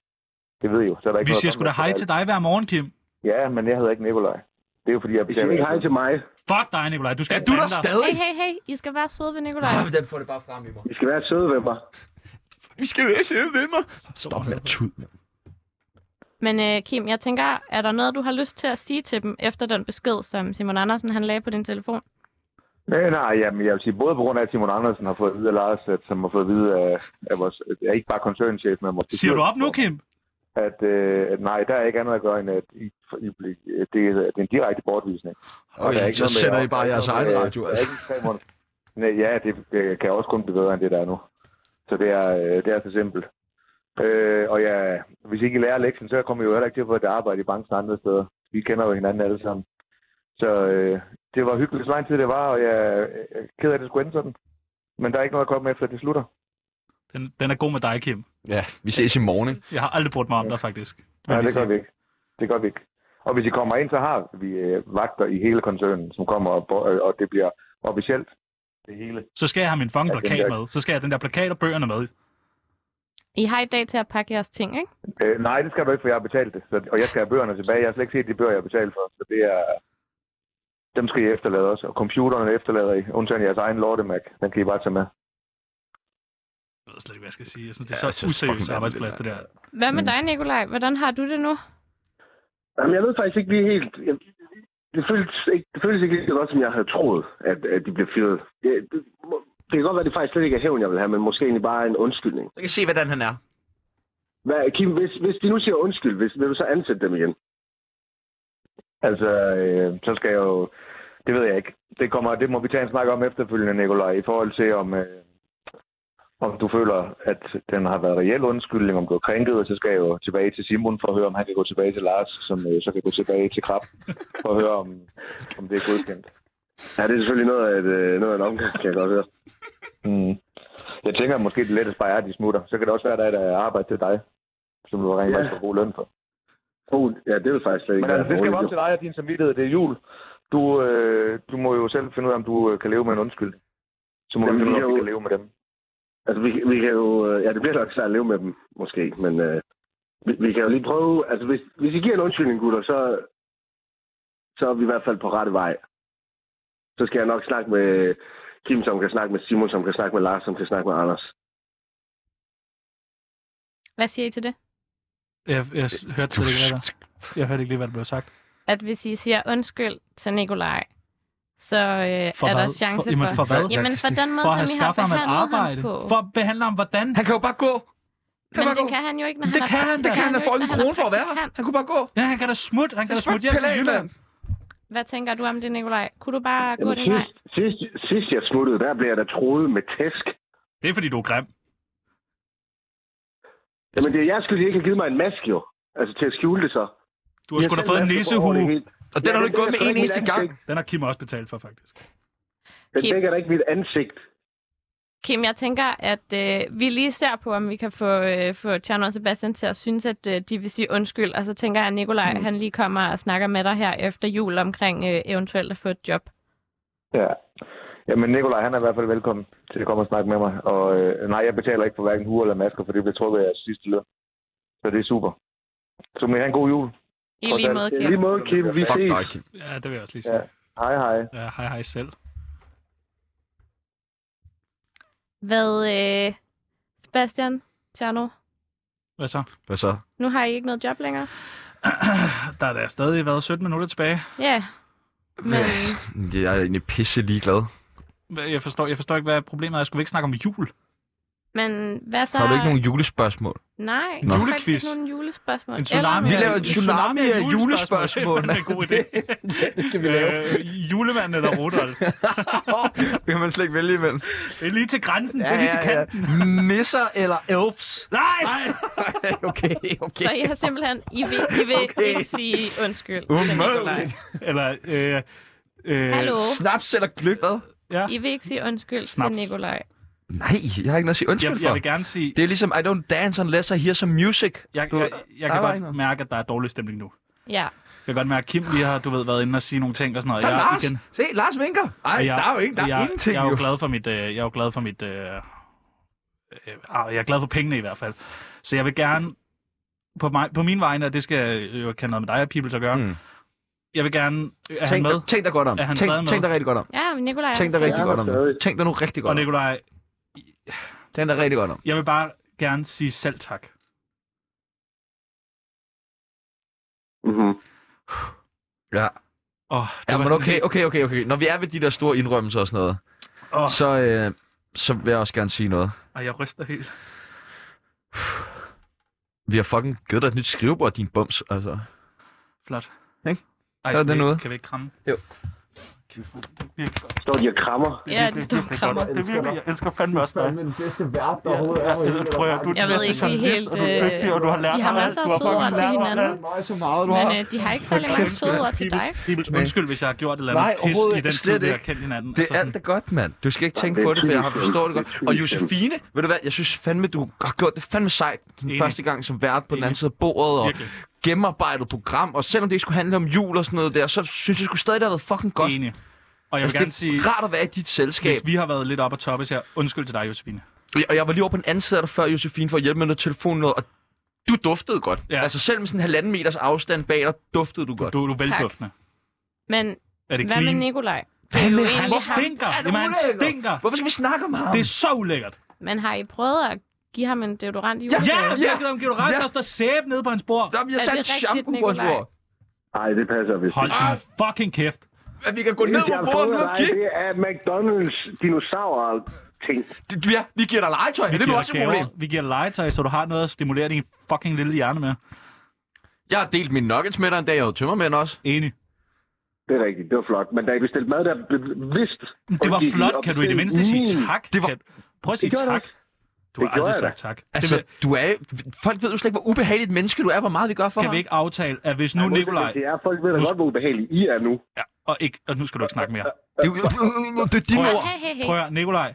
Speaker 7: det ved I jo, så er der ikke
Speaker 3: Vi
Speaker 7: noget
Speaker 3: siger
Speaker 7: at
Speaker 3: sgu
Speaker 7: komme
Speaker 3: da
Speaker 7: efter.
Speaker 3: hej til dig hver morgen, Kim.
Speaker 7: Ja, men jeg hedder ikke Nikolaj. Det er jo fordi, jeg
Speaker 3: siger ikke hej til
Speaker 7: mig.
Speaker 3: Fuck dig, Nikolaj. Du skal
Speaker 7: Er du der
Speaker 3: blande dig.
Speaker 4: Hey, hey, hey, I skal være søde ved Nikolaj.
Speaker 13: Nej, men den får det bare frem i mig.
Speaker 7: I skal være søde ved mig.
Speaker 13: Vi skal være søde ved mig. Stop med at tude, mand.
Speaker 4: Men øh, Kim, jeg tænker, er der noget, du har lyst til at sige til dem, efter den besked, som Simon Andersen han lagde på din telefon?
Speaker 7: Nej, Øh, nej, jamen, jeg vil sige, både på grund af, at Simon Andersen har fået at vide af Lars, at, som har fået at vide af, af vores, af ikke bare koncernchef, men vores
Speaker 3: Siger du op nu, Kim?
Speaker 7: At, øh, at nej, der er ikke andet at gøre, end at I, I, bliver- det, er- det er en direkte bortvisning.
Speaker 13: Okay,
Speaker 7: der er
Speaker 13: så
Speaker 7: noget
Speaker 13: sender
Speaker 7: med-
Speaker 13: I bare
Speaker 7: der er
Speaker 13: jeres
Speaker 7: ikke noget
Speaker 13: egen
Speaker 7: med-
Speaker 13: radio,
Speaker 7: der er
Speaker 13: altså.
Speaker 7: ikke tre måneder. Nej, ja, det øh, kan også kun blive bedre, end det der er nu. Så det er, øh, det er så simpelt. Øh, og ja, hvis I ikke lærer lektien, så kommer I jo heller ikke til at få et arbejde i banken andre steder. Vi kender jo hinanden alle sammen. Så øh, det var hyggeligt, så lang tid det var, og jeg er ked af, at det skulle ende sådan. Men der er ikke noget at komme efter, at det slutter.
Speaker 3: Den, den er god med dig, Kim.
Speaker 13: Ja, vi ses i morgen, ikke?
Speaker 3: Jeg har aldrig brugt mig om dig, faktisk.
Speaker 7: Nej, det gør vi ikke. Det gør vi ikke. Og hvis I kommer ind, så har vi øh, vagter i hele koncernen, som kommer, og, bo- øh, og det bliver officielt. Det hele.
Speaker 3: Så skal jeg have min fucking
Speaker 7: Ja, den
Speaker 3: plakat
Speaker 7: der-
Speaker 3: med. Så skal jeg have den der plakat og bøgerne med.
Speaker 4: I har i dag til at pakke jeres ting, ikke?
Speaker 7: Øh, nej, det skal du ikke, for jeg har betalt det. Så, og jeg skal have bøgerne tilbage. Jeg har slet ikke set de bøger, jeg har betalt for. Så det er... Dem skal I efterlade også. Og computerne efterlader I. Undtagen jeres egen lortemag. Den kan I bare tage med.
Speaker 3: Jeg ved slet ikke, hvad jeg skal sige. Jeg synes, det
Speaker 2: Ja,
Speaker 3: er
Speaker 2: jeg
Speaker 3: så
Speaker 2: synes fucking, det
Speaker 3: useriøst
Speaker 2: er
Speaker 3: arbejdsplads, det
Speaker 2: lidt-
Speaker 3: der.
Speaker 4: Hvad
Speaker 3: Mm.
Speaker 4: med dig, Nikolaj? Hvordan har du det nu?
Speaker 14: Jamen, jeg ved faktisk ikke lige helt... Jeg, det, føles ikke, det føles ikke lige så godt, som jeg havde troet, at, at de blev fyret. Det, det, må- det kan godt være, at det faktisk slet ikke er hævn, jeg vil have, men måske egentlig bare en undskyldning.
Speaker 2: Jeg kan se, hvordan han er.
Speaker 14: Hvad, Kim, hvis, hvis de nu siger undskyld, hvis, vil du så ansætte dem igen? Altså, øh, så skal jeg jo...
Speaker 7: Det ved jeg ikke. Det, kommer, det må vi tage en snak om efterfølgende, Nikolaj, i forhold til, om, øh, om du føler, at den har været reel undskyldning, om du er krænket, og så skal jeg jo tilbage til Simon for at høre, om han kan gå tilbage til Lars, som øh, så kan gå tilbage til Krab, for at høre, om, om det er godkendt.
Speaker 14: Ja, det er selvfølgelig noget af, et, øh, noget af en omgang, kan jeg godt høre.
Speaker 7: Mm. Jeg tænker måske, det letteste bare er, at de smutter. Så kan det også være, at der er et øh, arbejde til dig, som du rent
Speaker 14: Ja.
Speaker 7: faktisk får god løn for.
Speaker 14: Oh, ja, det vil faktisk slet ikke
Speaker 7: Men altså, det skal
Speaker 14: dårligt,
Speaker 7: være op
Speaker 14: jo.
Speaker 7: til dig og din samvittighed. Det er jul. Du, øh, du må jo selv finde ud af, om du øh, kan leve med en undskyld. Så må
Speaker 14: Jamen,
Speaker 7: vi finde
Speaker 14: vi
Speaker 7: ud af, om
Speaker 14: er
Speaker 7: vi
Speaker 14: jo-
Speaker 7: kan leve med dem.
Speaker 14: Altså, vi, vi kan jo... øh, Ja, det bliver nok svært at leve med dem, måske, men... Øh, vi, vi kan jo lige prøve... Altså, hvis, hvis I giver en undskyldning, gutter, så... Så er vi i hvert fald på rette vej. Så skal jeg nok snakke med Kim, som kan snakke med Simon, som kan snakke med Lars, som kan snakke med Anders.
Speaker 4: Hvad siger I til det?
Speaker 3: Jeg, jeg s- hørte slet ikke, hvad der. Jeg hørte ikke lige, hvad der blev sagt.
Speaker 4: At hvis I siger undskyld til Nikolaj, så øh,
Speaker 3: For
Speaker 4: er der
Speaker 3: hvad?
Speaker 4: chance
Speaker 3: for, jamen, for hvad?
Speaker 4: Jamen for den måde,
Speaker 3: for at have
Speaker 4: som I har
Speaker 3: skaffet ham et
Speaker 4: behandlet
Speaker 3: arbejde.
Speaker 4: ham på.
Speaker 3: For at behandle ham hvordan?
Speaker 2: Han kan jo bare gå.
Speaker 4: Men det kan han jo ikke, når
Speaker 3: Det
Speaker 4: han
Speaker 3: kan han da. Det kan han da. Får ikke en krone for at være
Speaker 4: her.
Speaker 2: Han kunne bare gå.
Speaker 3: Ja, han kan da smutte. Han kan da smutte hjem til Jylland.
Speaker 4: Hvad tænker du om det, Nikolaj? Kunne du bare gå
Speaker 14: Jamen,
Speaker 4: den vej?
Speaker 14: sidst, sidst, sidst jeg smuttede, der blev jeg da troet med tæsk.
Speaker 3: Det er, fordi du er grim.
Speaker 14: Jamen, det er jeres skyld, I ikke har givet mig en maske, jo. Altså, til at skjule det så.
Speaker 3: Du har
Speaker 14: Jeg
Speaker 3: sgu da
Speaker 14: selv
Speaker 3: fået en
Speaker 14: vasker
Speaker 3: nissehue.
Speaker 14: over det hele. Ja, den dækker sgu ikke mit ansigt.
Speaker 3: Den har Kim også betalt for, faktisk.
Speaker 14: Den dækker da ikke mit ansigt.
Speaker 4: Kim, jeg tænker, at øh, vi lige ser på, om vi kan få, øh, få Tjerno og Sebastian til at synes, at øh, de vil sige undskyld. Og så tænker jeg, at Nikolaj, mm. han lige kommer og snakker med dig her efter jul omkring øh, eventuelt at få et job.
Speaker 7: Ja. Jamen, Nikolaj, han er i hvert fald velkommen til at komme og snakke med mig. Og øh, nej, jeg betaler ikke for hverken huer eller masker, for det bliver trukket af jeres sidste løn. Så det er super. Så må I have en god jul.
Speaker 4: I
Speaker 7: Trods
Speaker 4: lige
Speaker 7: alt.
Speaker 4: måde,
Speaker 7: I
Speaker 4: Kim.
Speaker 7: lige måde, Kim. Vi
Speaker 3: Fuck
Speaker 7: ses.
Speaker 3: dig, Kim. Ja, det vil jeg også lige sige.
Speaker 7: Ja. Hej, hej.
Speaker 3: Ja, hej, hej selv.
Speaker 4: Hvad, øh, Sebastian, Tjerno,
Speaker 3: Hvad så?
Speaker 5: Hvad så?
Speaker 4: nu har I ikke noget job længere?
Speaker 3: Der er da stadig været 17 minutter tilbage.
Speaker 4: Ja. Men,
Speaker 2: Jeg er egentlig pisse ligeglad.
Speaker 3: Hvad- Jeg forstår, jeg forstår ikke, hvad problemet er. Skulle vi ikke snakke om jul?
Speaker 4: men hvad så?
Speaker 2: Har du ikke nogen julespørgsmål?
Speaker 4: Nej,
Speaker 2: En
Speaker 4: der er
Speaker 2: julequiz.
Speaker 4: faktisk ikke nogen julespørgsmål.
Speaker 2: En tsunami.
Speaker 4: Eller
Speaker 2: Vi laver
Speaker 4: noget.
Speaker 2: en tsunami af julespørgsmål.
Speaker 3: Det er fandme en god idé. det kan vi lave. Øh, julemanden eller Rudolf.
Speaker 2: Det kan man slet ikke vælge imellem.
Speaker 3: Det er lige til grænsen. det er lige til kanten.
Speaker 2: Nisser eller elves?
Speaker 3: Nej!
Speaker 2: okay, okay.
Speaker 4: Så I har simpelthen, I vil, I vil okay.
Speaker 2: Okay.
Speaker 4: ikke sige undskyld. til Nikolaj.
Speaker 3: Umuligt. Eller, øh, øh,
Speaker 4: Hallo?
Speaker 2: Snaps eller gløk?
Speaker 3: Ja.
Speaker 4: I vil ikke sige undskyld
Speaker 2: Snaps.
Speaker 4: til Nikolaj.
Speaker 2: Nej, jeg har ikke noget at sige undskyld
Speaker 3: Jeg,
Speaker 2: for.
Speaker 3: jeg vil gerne sige...
Speaker 2: Det er ligesom, I don't dance unless I hear some music.
Speaker 3: Jeg,
Speaker 2: Du-
Speaker 3: jeg, jeg
Speaker 2: der
Speaker 3: kan
Speaker 2: var ikke
Speaker 3: godt
Speaker 2: noget.
Speaker 3: mærke, at der er dårlig stemning nu.
Speaker 4: Ja.
Speaker 3: Jeg kan godt mærke, at Kim lige har, du ved, været inde og sige nogle ting og sådan noget.
Speaker 2: Der er
Speaker 3: Jeg-
Speaker 2: Lars. Se, Lars vinker. Ej,
Speaker 3: Og jeg-
Speaker 2: der er jo ikke, der er
Speaker 3: jeg,
Speaker 2: ingenting
Speaker 3: jeg er jo
Speaker 2: jo.
Speaker 3: glad for mit, øh, jeg er jo glad for mit, øh, øh, ah, jeg er glad for pengene i hvert fald. Så jeg vil gerne på, mig, på min vegne, og det skal jo ikke have noget med dig og Pibels at gøre, mm. jeg vil gerne, øh, er han
Speaker 2: Tænk
Speaker 3: med?
Speaker 2: dig, tænk dig godt om.
Speaker 3: Er han
Speaker 2: Tænk,
Speaker 3: stadig med?
Speaker 2: tænk dig rigtig godt om.
Speaker 4: Ja, men Nikolaj er
Speaker 2: Tænk dig
Speaker 4: stadig-
Speaker 2: rigtig godt om det. Tænk dig nu rigtig godt
Speaker 3: Og
Speaker 2: om det.
Speaker 3: Nikolaj,
Speaker 2: Tænk dig rigtig godt om
Speaker 3: jeg vil bare gerne sige selv tak.
Speaker 14: Mm-hmm.
Speaker 2: Ja.
Speaker 3: Oh,
Speaker 2: ja, men okay, okay, okay, okay. Når vi er ved de der store indrømmelser og sådan noget,
Speaker 3: Åh.
Speaker 2: oh. så, øh, så vil jeg også gerne sige noget.
Speaker 3: Og jeg ryster helt.
Speaker 2: Vi har fucking givet dig et nyt skrivebord, din bums, altså.
Speaker 3: Flot.
Speaker 2: Ikke?
Speaker 3: Ej,
Speaker 2: Er
Speaker 3: skal
Speaker 2: det
Speaker 3: vi, ikke-
Speaker 2: noget?
Speaker 3: kan vi ikke kramme?
Speaker 2: Jo.
Speaker 14: Står de og krammer?
Speaker 4: Ja, de står og krammer.
Speaker 3: Det er virkelig, jeg elsker fandme også dig.
Speaker 9: Men den bedste vært, der overhovedet er.
Speaker 3: Jeg tror, jeg, du er den
Speaker 4: Jeg ved
Speaker 3: bedste
Speaker 4: ikke lige
Speaker 3: journalist,
Speaker 4: helt,
Speaker 3: og du er dygtig, og du har
Speaker 4: øh,
Speaker 3: lært
Speaker 4: de har
Speaker 3: mig alt.
Speaker 4: masser af
Speaker 3: Du
Speaker 4: søde
Speaker 3: har fucking
Speaker 4: ord til
Speaker 3: lært mig alt.
Speaker 4: hinanden.
Speaker 9: så meget,
Speaker 4: Men øh, de har ikke særlig mange søde ord til dig.
Speaker 3: Pibels,
Speaker 2: Nej.
Speaker 3: undskyld, hvis jeg har gjort et eller
Speaker 2: Nej,
Speaker 3: andet pis i
Speaker 2: overhovedet
Speaker 3: den tid,
Speaker 2: slet
Speaker 3: vi har
Speaker 2: ikke.
Speaker 3: kendt hinanden. Altså
Speaker 2: Det er alt er godt, mand. Du skal ikke tænke
Speaker 3: det er
Speaker 2: på det, for jeg har
Speaker 3: typisk
Speaker 2: forstået det
Speaker 3: dem.
Speaker 2: godt. Og Josefine, ved du hvad, jeg synes fandme, du har gjort det fandme sejt den
Speaker 3: Enig.
Speaker 2: første gang som vært på den anden side af bordet, og
Speaker 3: Virkelig.
Speaker 2: gennemarbejdet program, og selvom det ikke skulle handle om jul og sådan noget der, så synes jeg sgu stadig, det har været fucking godt.
Speaker 3: Enig. Og jeg vil
Speaker 2: Altså,
Speaker 3: gerne
Speaker 2: det er
Speaker 3: sige,
Speaker 2: rart at være i dit selskab.
Speaker 3: hvis vi har været lidt op at toppe, så jeg undskyld til dig, Josefine.
Speaker 2: Og jeg var lige over på den anden side af dig før, Josefine, for at hjælpe med noget telefon noget, og du duftede godt.
Speaker 3: Ja.
Speaker 2: Altså selv med sådan en halvanden meters afstand bag dig, duftede du godt.
Speaker 3: Du, du er velduftende.
Speaker 4: Men
Speaker 3: Er det
Speaker 4: hvad med
Speaker 3: clean?
Speaker 4: Nikolaj?
Speaker 2: Hvad
Speaker 4: Det er jo
Speaker 2: med
Speaker 4: egentlig
Speaker 3: Han
Speaker 4: ham.
Speaker 3: stinker!
Speaker 2: Er det
Speaker 3: Jamen, han
Speaker 2: ulækkert?
Speaker 3: stinker!
Speaker 2: Hvorfor skal vi snakke om ham?
Speaker 3: Det er så ulækkert.
Speaker 4: Men har I prøvet at give ham en deodorant i
Speaker 3: Ja,
Speaker 4: julegave?
Speaker 3: ja, vi har givet ham deodorant, der står sæbe nede på hans bord.
Speaker 2: Jamen,
Speaker 4: jeg Er satte det rigtigt, shampoo på hans Nikolaj? bord.
Speaker 14: Nej, det passer vist.
Speaker 3: Hold din fucking kæft.
Speaker 2: At vi kan gå
Speaker 14: Det
Speaker 2: ned
Speaker 14: eneste,
Speaker 2: på
Speaker 14: jeg har
Speaker 2: bordet
Speaker 14: fået af
Speaker 2: nu og
Speaker 14: dig,
Speaker 2: kigge.
Speaker 14: Det er McDonald's dinosaur-ting.
Speaker 2: Ja, vi giver dig legetøj.
Speaker 3: Vi
Speaker 2: er det nu
Speaker 3: giver
Speaker 2: også
Speaker 3: dig
Speaker 2: et
Speaker 3: gaver.
Speaker 2: problem?
Speaker 3: Vi giver dig legetøj, så du har noget at stimulere din fucking lille hjerne med.
Speaker 2: Jeg har delt mine nuggets med dig en dag, jeg havde tømmermænd også.
Speaker 3: Enig.
Speaker 14: Det er rigtigt, det var flot. Men da I bestilte mad, der blev vist...
Speaker 3: Det var
Speaker 14: fordi de
Speaker 3: flot. Kan du i det mindste sige
Speaker 14: opstillede-
Speaker 3: tak? Det var... Prøv at sige
Speaker 14: Det gjorde jeg
Speaker 3: tak.
Speaker 14: da.
Speaker 3: Du har
Speaker 14: Det gjorde jeg
Speaker 3: aldrig
Speaker 14: da.
Speaker 3: sagt tak. Det
Speaker 2: Altså,
Speaker 3: vil-
Speaker 2: du er, folk ved jo slet ikke, hvor ubehageligt menneske du er, hvor meget vi gør for
Speaker 3: Kan
Speaker 2: ham.
Speaker 3: vi ikke aftale, at hvis nu
Speaker 2: Nej, modsætning
Speaker 3: Nikolaj...
Speaker 2: til
Speaker 14: jer, folk ved da godt, hvor ubehagelige I er nu.
Speaker 3: Ja, og, ikke, og nu skal du ikke snakke mere.
Speaker 2: Det, det, det er
Speaker 3: Prøv
Speaker 2: dine
Speaker 3: at-
Speaker 2: ord.
Speaker 3: Prøv at høre, Nikolaj.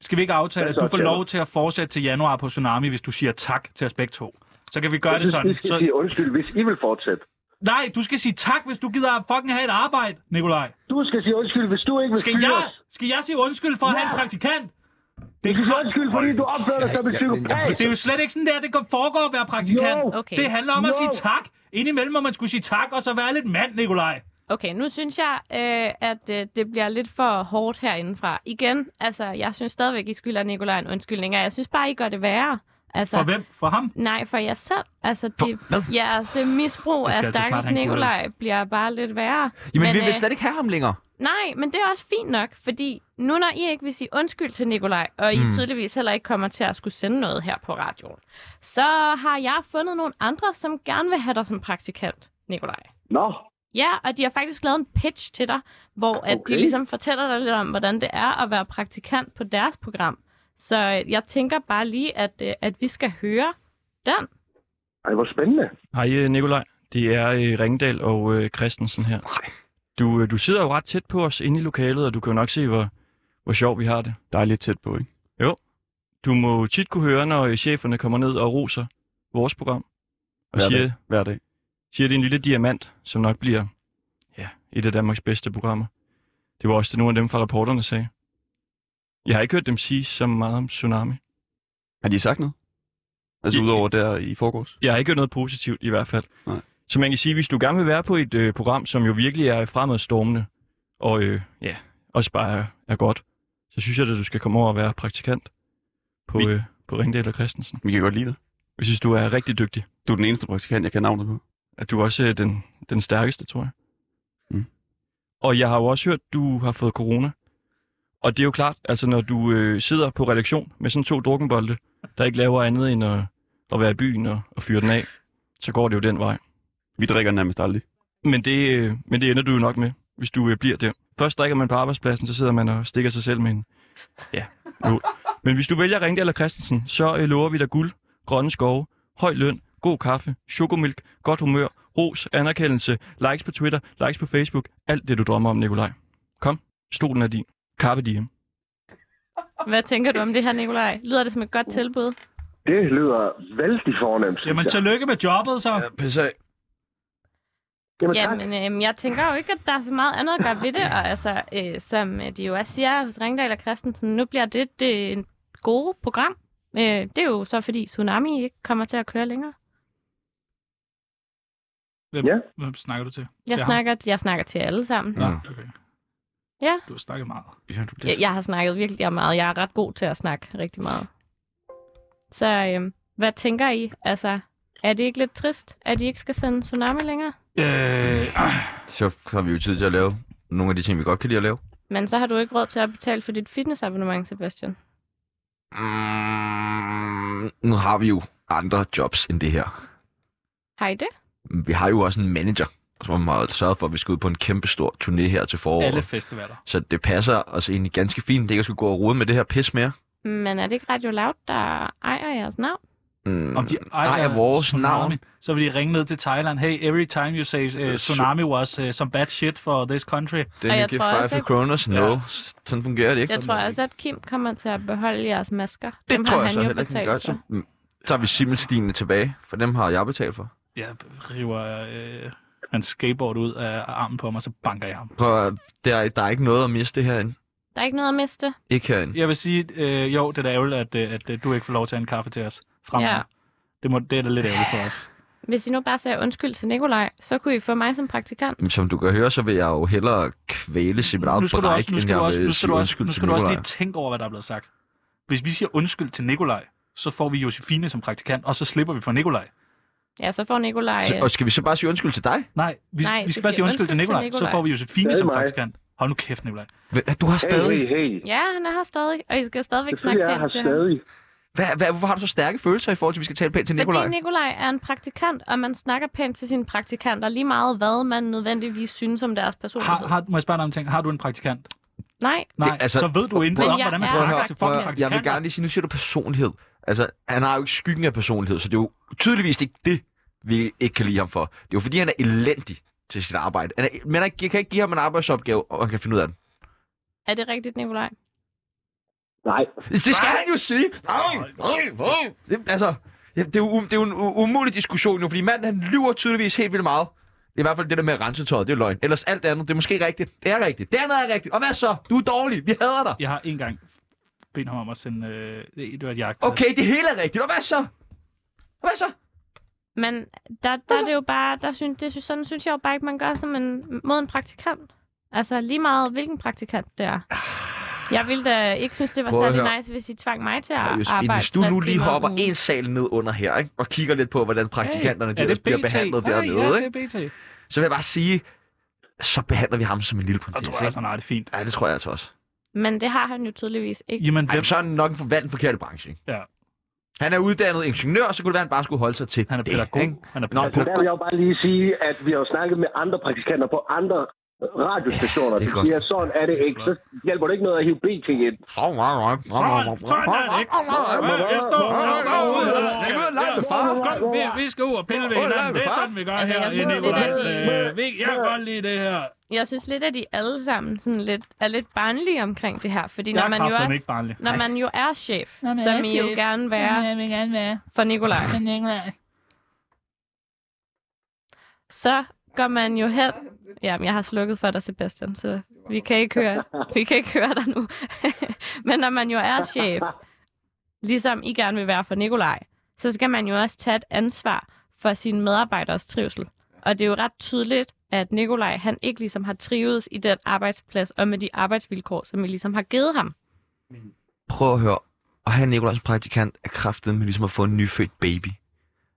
Speaker 3: Skal vi ikke aftale, at
Speaker 2: Hvad så,
Speaker 3: du får lov
Speaker 2: Kjeld?
Speaker 3: til at fortsætte til januar på Tsunami, hvis du siger tak til os begge to? Så kan vi gøre
Speaker 14: Jeg
Speaker 3: det
Speaker 14: synes,
Speaker 3: sådan.
Speaker 14: I skal sige
Speaker 3: Så...
Speaker 14: undskyld, hvis I vil fortsætte.
Speaker 3: Nej, du skal sige tak, hvis du gider at fucking have et arbejde, Nikolaj.
Speaker 14: Du skal sige undskyld, hvis du ikke vil
Speaker 3: Skal
Speaker 14: fyres.
Speaker 3: jeg, skal jeg sige undskyld for at have en praktikant? Det er
Speaker 14: Du skal sige
Speaker 3: klart.
Speaker 14: undskyld, fordi du opfører dig som en psykopat.
Speaker 3: Det er jo slet ikke sådan der, det går- foregår at være praktikant.
Speaker 4: Jo. Okay.
Speaker 3: Det handler om at
Speaker 4: Jo.
Speaker 3: sige tak. Indimellem må man skulle sige tak, og så være lidt mand, Nikolaj.
Speaker 4: Okay, nu synes jeg, øh, at øh, det bliver lidt for hårdt herindefra. Igen, altså, jeg synes stadigvæk, I skylder Nikolaj en undskyldning, og jeg synes bare, I gør det værre. Altså,
Speaker 3: For hvem? For ham?
Speaker 4: Nej, for jer selv. Altså, det, jeres øh, misbrug
Speaker 2: Jeg skal
Speaker 4: af
Speaker 2: altså snart
Speaker 4: stakkels
Speaker 2: have en cola.
Speaker 4: Nikolaj bliver bare lidt værre.
Speaker 2: Jamen, vi
Speaker 4: øh,
Speaker 2: vil slet ikke have ham længere.
Speaker 4: Nej, men det er også fint nok, fordi nu når I ikke vil sige undskyld til Nikolaj, og I
Speaker 2: Mm.
Speaker 4: mm. tydeligvis heller ikke kommer til at skulle sende noget her på radioen, så har jeg fundet nogle andre, som gerne vil have dig som praktikant, Nikolaj.
Speaker 14: Nå,
Speaker 4: Ja, og de har faktisk lavet en pitch til dig, hvor at
Speaker 14: Okay.
Speaker 4: de ligesom fortæller dig lidt om, hvordan det er at være praktikant på deres program. Så øh, jeg tænker bare lige, at, øh, at vi skal høre den.
Speaker 14: Ej, hvor spændende.
Speaker 16: Hej øh, Nikolaj, det er øh, Ringdal og øh, Christensen her. Du, øh, du sidder jo ret tæt på os inde i lokalet, og du kan jo nok se, hvor, hvor sjov vi har det. Der er lidt tæt på, ikke? Jo. Du må tit kunne høre, når øh, cheferne kommer ned og roser vores program. Og
Speaker 13: Hver dag.
Speaker 16: siger, Hver dag. Siger, det er en lille diamant, som nok bliver ja, et af Danmarks bedste programmer. Det var også det, nogle af dem fra reporterne sagde. Jeg har ikke hørt dem sige så meget om Tsunami.
Speaker 17: Har de sagt noget? Altså udover der i forgårs?
Speaker 16: Jeg har ikke hørt noget positivt i hvert fald.
Speaker 17: Nej.
Speaker 16: Så man kan sige, hvis du gerne vil være på et øh, program, som jo virkelig er fremadstormende, og øh, ja, også bare er, er godt, så synes jeg, at du skal komme over og være praktikant på, øh, på Ringdal og Christensen.
Speaker 17: Vi kan godt lide det.
Speaker 16: Jeg synes, du er rigtig dygtig.
Speaker 17: Du er den eneste praktikant, jeg kan navnet på.
Speaker 16: At du er også øh, den, den stærkeste, tror jeg.
Speaker 17: Mm.
Speaker 16: Og jeg har jo også hørt, at du har fået corona. Og det er jo klart, altså når du øh, sidder på redaktion med sådan to drukkenbolde, der ikke laver andet end at, at være i byen og, og fyre den af, så går det jo den vej.
Speaker 17: Vi drikker nærmest aldrig.
Speaker 16: Men det, øh, men det ender du jo nok med, hvis du øh, bliver der. Først drikker man på arbejdspladsen, så sidder man og stikker sig selv med en... Ja, lort. Men hvis du vælger Ringdal eller Christensen, så øh, lover vi dig guld, grønne skove, høj løn, god kaffe, chokomilk, godt humør, ros, anerkendelse, likes på Twitter, likes på Facebook, alt det du drømmer om, Nikolaj. Kom, stolen er din. Carpe diem.
Speaker 4: Hvad tænker du om det her, Nikolaj? Lyder det som et godt tilbud?
Speaker 14: Det lyder vældig fornemt, synes
Speaker 3: Jamen,
Speaker 14: jeg.
Speaker 3: tillykke med jobbet, så. Ja,
Speaker 2: pisse af.
Speaker 14: Jamen, tak.
Speaker 4: Jamen, øhm, jeg tænker jo ikke, at der er så meget andet at gøre ved det, og altså, øh, som øh, de jo også siger hos Ringdal og Christensen, nu bliver det det en gode program. Øh, det er jo så, fordi Tsunami ikke kommer til at køre længere.
Speaker 3: Hvem, ja. hvem snakker du til?
Speaker 4: Jeg,
Speaker 3: til ham?
Speaker 4: snakker, jeg snakker til jer alle sammen.
Speaker 3: Nå, okay.
Speaker 4: Ja.
Speaker 3: Du har snakket meget.
Speaker 17: Ja, du
Speaker 4: Jeg, jeg har snakket virkelig meget. Jeg er ret god til at snakke rigtig meget. Så øhm, hvad tænker I? Altså, er det ikke lidt trist, at I ikke skal sende Tsunami længere?
Speaker 2: Øh, så har vi jo tid til at lave nogle af de ting, vi godt kan lide at lave.
Speaker 4: Men så har du ikke råd til at betale for dit fitnessabonnement, Sebastian.
Speaker 2: Mm, nu har vi jo andre jobs end det her.
Speaker 4: Har I det?
Speaker 2: Vi har jo også en manager, som har sørget for, at vi skal ud på en kæmpe stor turné her til foråret.
Speaker 3: Alle festivaler.
Speaker 2: Så det passer os egentlig ganske fint, ikke at skulle gå og rode med det her pis mere.
Speaker 4: Men er det ikke Radio Loud, der ejer jeres navn?
Speaker 2: Mm,
Speaker 3: Om de
Speaker 2: nej,
Speaker 3: ejer
Speaker 2: er vores
Speaker 3: tsunami,
Speaker 2: navn.
Speaker 3: Så vil de ringe ned til Thailand. Hey, every time you say uh, tsunami was uh, some bad shit for this country.
Speaker 2: Den
Speaker 4: Og
Speaker 2: er
Speaker 4: jeg
Speaker 2: give
Speaker 4: tror
Speaker 2: five
Speaker 4: også,
Speaker 2: for
Speaker 4: at-
Speaker 2: kroners, no. Ja. Sådan fungerer det ikke.
Speaker 4: Jeg tror også, at Kim kommer til at beholde jeres masker.
Speaker 2: det
Speaker 4: Dem
Speaker 2: tror
Speaker 4: har
Speaker 2: jeg
Speaker 4: han
Speaker 2: så
Speaker 4: jo
Speaker 2: heller ikke, han
Speaker 4: betalt
Speaker 2: gør. Så, mm, så har vi simmelstine tilbage, for dem har jeg betalt for.
Speaker 3: Jeg river øh, hans skateboard ud af armen på mig, så banker jeg ham.
Speaker 2: Prøv, at- der, der er ikke noget at miste herinde.
Speaker 4: Der er ikke noget at miste.
Speaker 2: Ikke herinde.
Speaker 3: Jeg vil sige, øh, jo, det er da ærgerligt, at, øh, at øh, du ikke får lov til at have en kaffe til os fremover.
Speaker 4: Ja.
Speaker 3: Ja. Det, må, det er da lidt ærgerligt for os.
Speaker 4: Hvis I nu bare sagde undskyld til Nikolaj, så kunne I få mig som praktikant.
Speaker 2: Jamen, som du kan høre, så vil jeg jo hellere kvæle sit eget
Speaker 3: Nu skal du
Speaker 2: bræk,
Speaker 3: også, nu skal
Speaker 2: end
Speaker 3: du
Speaker 2: jeg
Speaker 3: også,
Speaker 2: vil
Speaker 3: nu
Speaker 2: sige
Speaker 3: skal du også,
Speaker 2: undskyld
Speaker 3: nu
Speaker 2: til
Speaker 3: skal du også
Speaker 2: Nikolaj.
Speaker 3: lige tænke over, hvad der er blevet sagt. Hvis vi siger undskyld til Nikolaj, så får vi Josefine som praktikant, og så slipper vi for Nikolaj.
Speaker 4: Ja, så får Nikolaj...
Speaker 3: Så-
Speaker 4: øh,
Speaker 3: og
Speaker 2: Skal vi så bare sige undskyld til dig?
Speaker 3: Nej, vi,
Speaker 4: Nej,
Speaker 3: Nej, vi
Speaker 4: vi
Speaker 3: skal bare
Speaker 4: siger
Speaker 3: sige undskyld til
Speaker 4: undskyld til
Speaker 3: Nikolaj, så
Speaker 4: Nikolaj.
Speaker 3: får vi Josefine
Speaker 4: Det er
Speaker 3: som
Speaker 4: mig.
Speaker 3: praktikant. Hold nu kæft, Nikolaj.
Speaker 2: Du har stadig...
Speaker 11: hey.
Speaker 4: Ja, han er her stadig, og I skal stadigvæk snakke
Speaker 3: Selvfølgelig er jeg her
Speaker 4: pænt til ham.
Speaker 2: Hvad, hvad, hvorfor har du så stærke følelser i forhold til, at vi skal tale pænt til Nikolaj?
Speaker 4: Fordi Nikolaj er en praktikant, og man snakker pænt til sine praktikanter, lige meget hvad man nødvendigvis synes om deres personlighed.
Speaker 3: Har, har, må jeg spørge dig om en ting? Har du en praktikant?
Speaker 4: Nej,
Speaker 3: Nej, det, altså, så ved du intet
Speaker 4: Men
Speaker 3: om,
Speaker 4: jeg
Speaker 3: hvordan man
Speaker 4: er
Speaker 3: snakker
Speaker 4: praktikant.
Speaker 3: til
Speaker 4: Prøv
Speaker 3: fucking
Speaker 4: at høre,
Speaker 3: praktikanter.
Speaker 2: Jeg vil gerne lige sige, nu siger du personlighed. Altså, han har jo ikke skyggen af personlighed, så det er jo tydeligvis ikke det, vi ikke kan lide ham for. Det er jo fordi, han er elendig til sit arbejde. Han er, men han- jeg kan ikke give ham en arbejdsopgave, og han kan finde ud af den.
Speaker 4: er det rigtigt, Nikolaj?
Speaker 2: Nej. Det skal nej. han jo sige. Nej, nej, nej. Det, altså, ja, det er jo, um- det er jo en u- umulig diskussion nu, fordi manden han lyver tydeligvis helt vildt meget. Det er i hvert fald det der med at rense tøjet, det er løgn. Ellers alt andet, det er måske rigtigt. Det er rigtigt. Det andet er rigtigt. Og hvad så? Du er dårlig. Vi hader dig.
Speaker 3: Jeg har en gang bedt ham om at sende... Øh, det var et jagt.
Speaker 2: Okay, det hele er rigtigt. Og hvad så? Hvad så?
Speaker 4: Men der, der
Speaker 3: Altså-
Speaker 4: er det jo bare, der synes, det, synes- sådan synes jeg jo bare ikke, man gør som en, mod en praktikant. Altså lige meget, hvilken praktikant det er.
Speaker 3: Ah.
Speaker 4: Jeg ville da ikke synes, det var
Speaker 2: Prøv at
Speaker 4: særlig
Speaker 2: høre.
Speaker 4: nice, hvis I tvang mig til at
Speaker 2: Prøv, Josefine,
Speaker 4: arbejde
Speaker 2: Hvis du nu
Speaker 4: 60
Speaker 2: lige
Speaker 4: timer om
Speaker 2: hopper
Speaker 4: ugen.
Speaker 2: en sal ned under her, ikke? og kigger lidt på, hvordan praktikanterne
Speaker 3: Hey, er
Speaker 2: hey,
Speaker 3: det
Speaker 2: bliver
Speaker 3: BT?
Speaker 2: behandlet
Speaker 3: Hey,
Speaker 2: dernede,
Speaker 3: ja, det er
Speaker 2: ikke?
Speaker 3: BT.
Speaker 2: så vil jeg bare sige, så behandler vi ham som en lille prinsesse.
Speaker 3: tror jeg altså,
Speaker 2: nej,
Speaker 3: det er fint.
Speaker 2: Ja, det tror jeg altså også.
Speaker 4: Men det har han jo tydeligvis ikke.
Speaker 3: Jamen,
Speaker 2: Ej, men så er han nok en forvalgt forkert branche, ikke?
Speaker 3: Ja.
Speaker 2: Han er uddannet ingeniør, så kunne det være, at han bare skulle holde sig til Han er
Speaker 3: pædagog.
Speaker 2: Det,
Speaker 3: han er
Speaker 2: Nå,
Speaker 9: Altså, der vil jeg jo bare lige sige, at vi har jo snakket med andre praktikanter på andre radiostationer.
Speaker 2: det er
Speaker 9: Ja,
Speaker 2: godt.
Speaker 9: det er sådan er det ikke. Så hjælper det ikke noget at hive BT ind.
Speaker 2: Sådan, sådan
Speaker 13: er det ikke. Jeg står- jeg står ude og- Skal vi ud og lege med far?
Speaker 3: Kom, vi- Vi skal ud og pille ved
Speaker 13: Ud og lege
Speaker 3: hinanden.
Speaker 13: med
Speaker 3: Det er
Speaker 13: far.
Speaker 3: sådan, vi gør
Speaker 13: Altså,
Speaker 3: her
Speaker 13: jeg
Speaker 3: i
Speaker 13: synes, det er
Speaker 3: Nikolajs.
Speaker 13: lidt i-
Speaker 3: øh, vi- Jeg kan godt lide det her.
Speaker 4: Jeg synes lidt, at de alle sammen sådan lidt, er lidt barnlige omkring det her. Fordi
Speaker 3: Jeg
Speaker 4: når
Speaker 3: er
Speaker 4: man, jo
Speaker 3: kraftedeme
Speaker 4: også,
Speaker 3: ikke barnlig.
Speaker 4: når
Speaker 3: Nej.
Speaker 4: man jo er chef,
Speaker 18: Når man
Speaker 4: som
Speaker 18: er
Speaker 4: I jo
Speaker 18: chef,
Speaker 4: gerne
Speaker 18: som
Speaker 4: være,
Speaker 18: jeg vil gerne være.
Speaker 4: for Nikolaj.
Speaker 18: For Nikolaj.
Speaker 4: så går man jo hen... Jamen, jeg har slukket for dig, Sebastian, så vi kan ikke høre, vi kan ikke høre dig nu. Men når man jo er chef, ligesom I gerne vil være for Nikolaj, så skal man jo også tage et ansvar for sine medarbejderes trivsel. Og det er jo ret tydeligt, at Nikolaj, han ikke ligesom har trivet i den arbejdsplads og med de arbejdsvilkår, som I ligesom har givet ham.
Speaker 2: Prøv at høre. Og have Nikolaj som praktikant er kraftet med ligesom at få en nyfødt baby.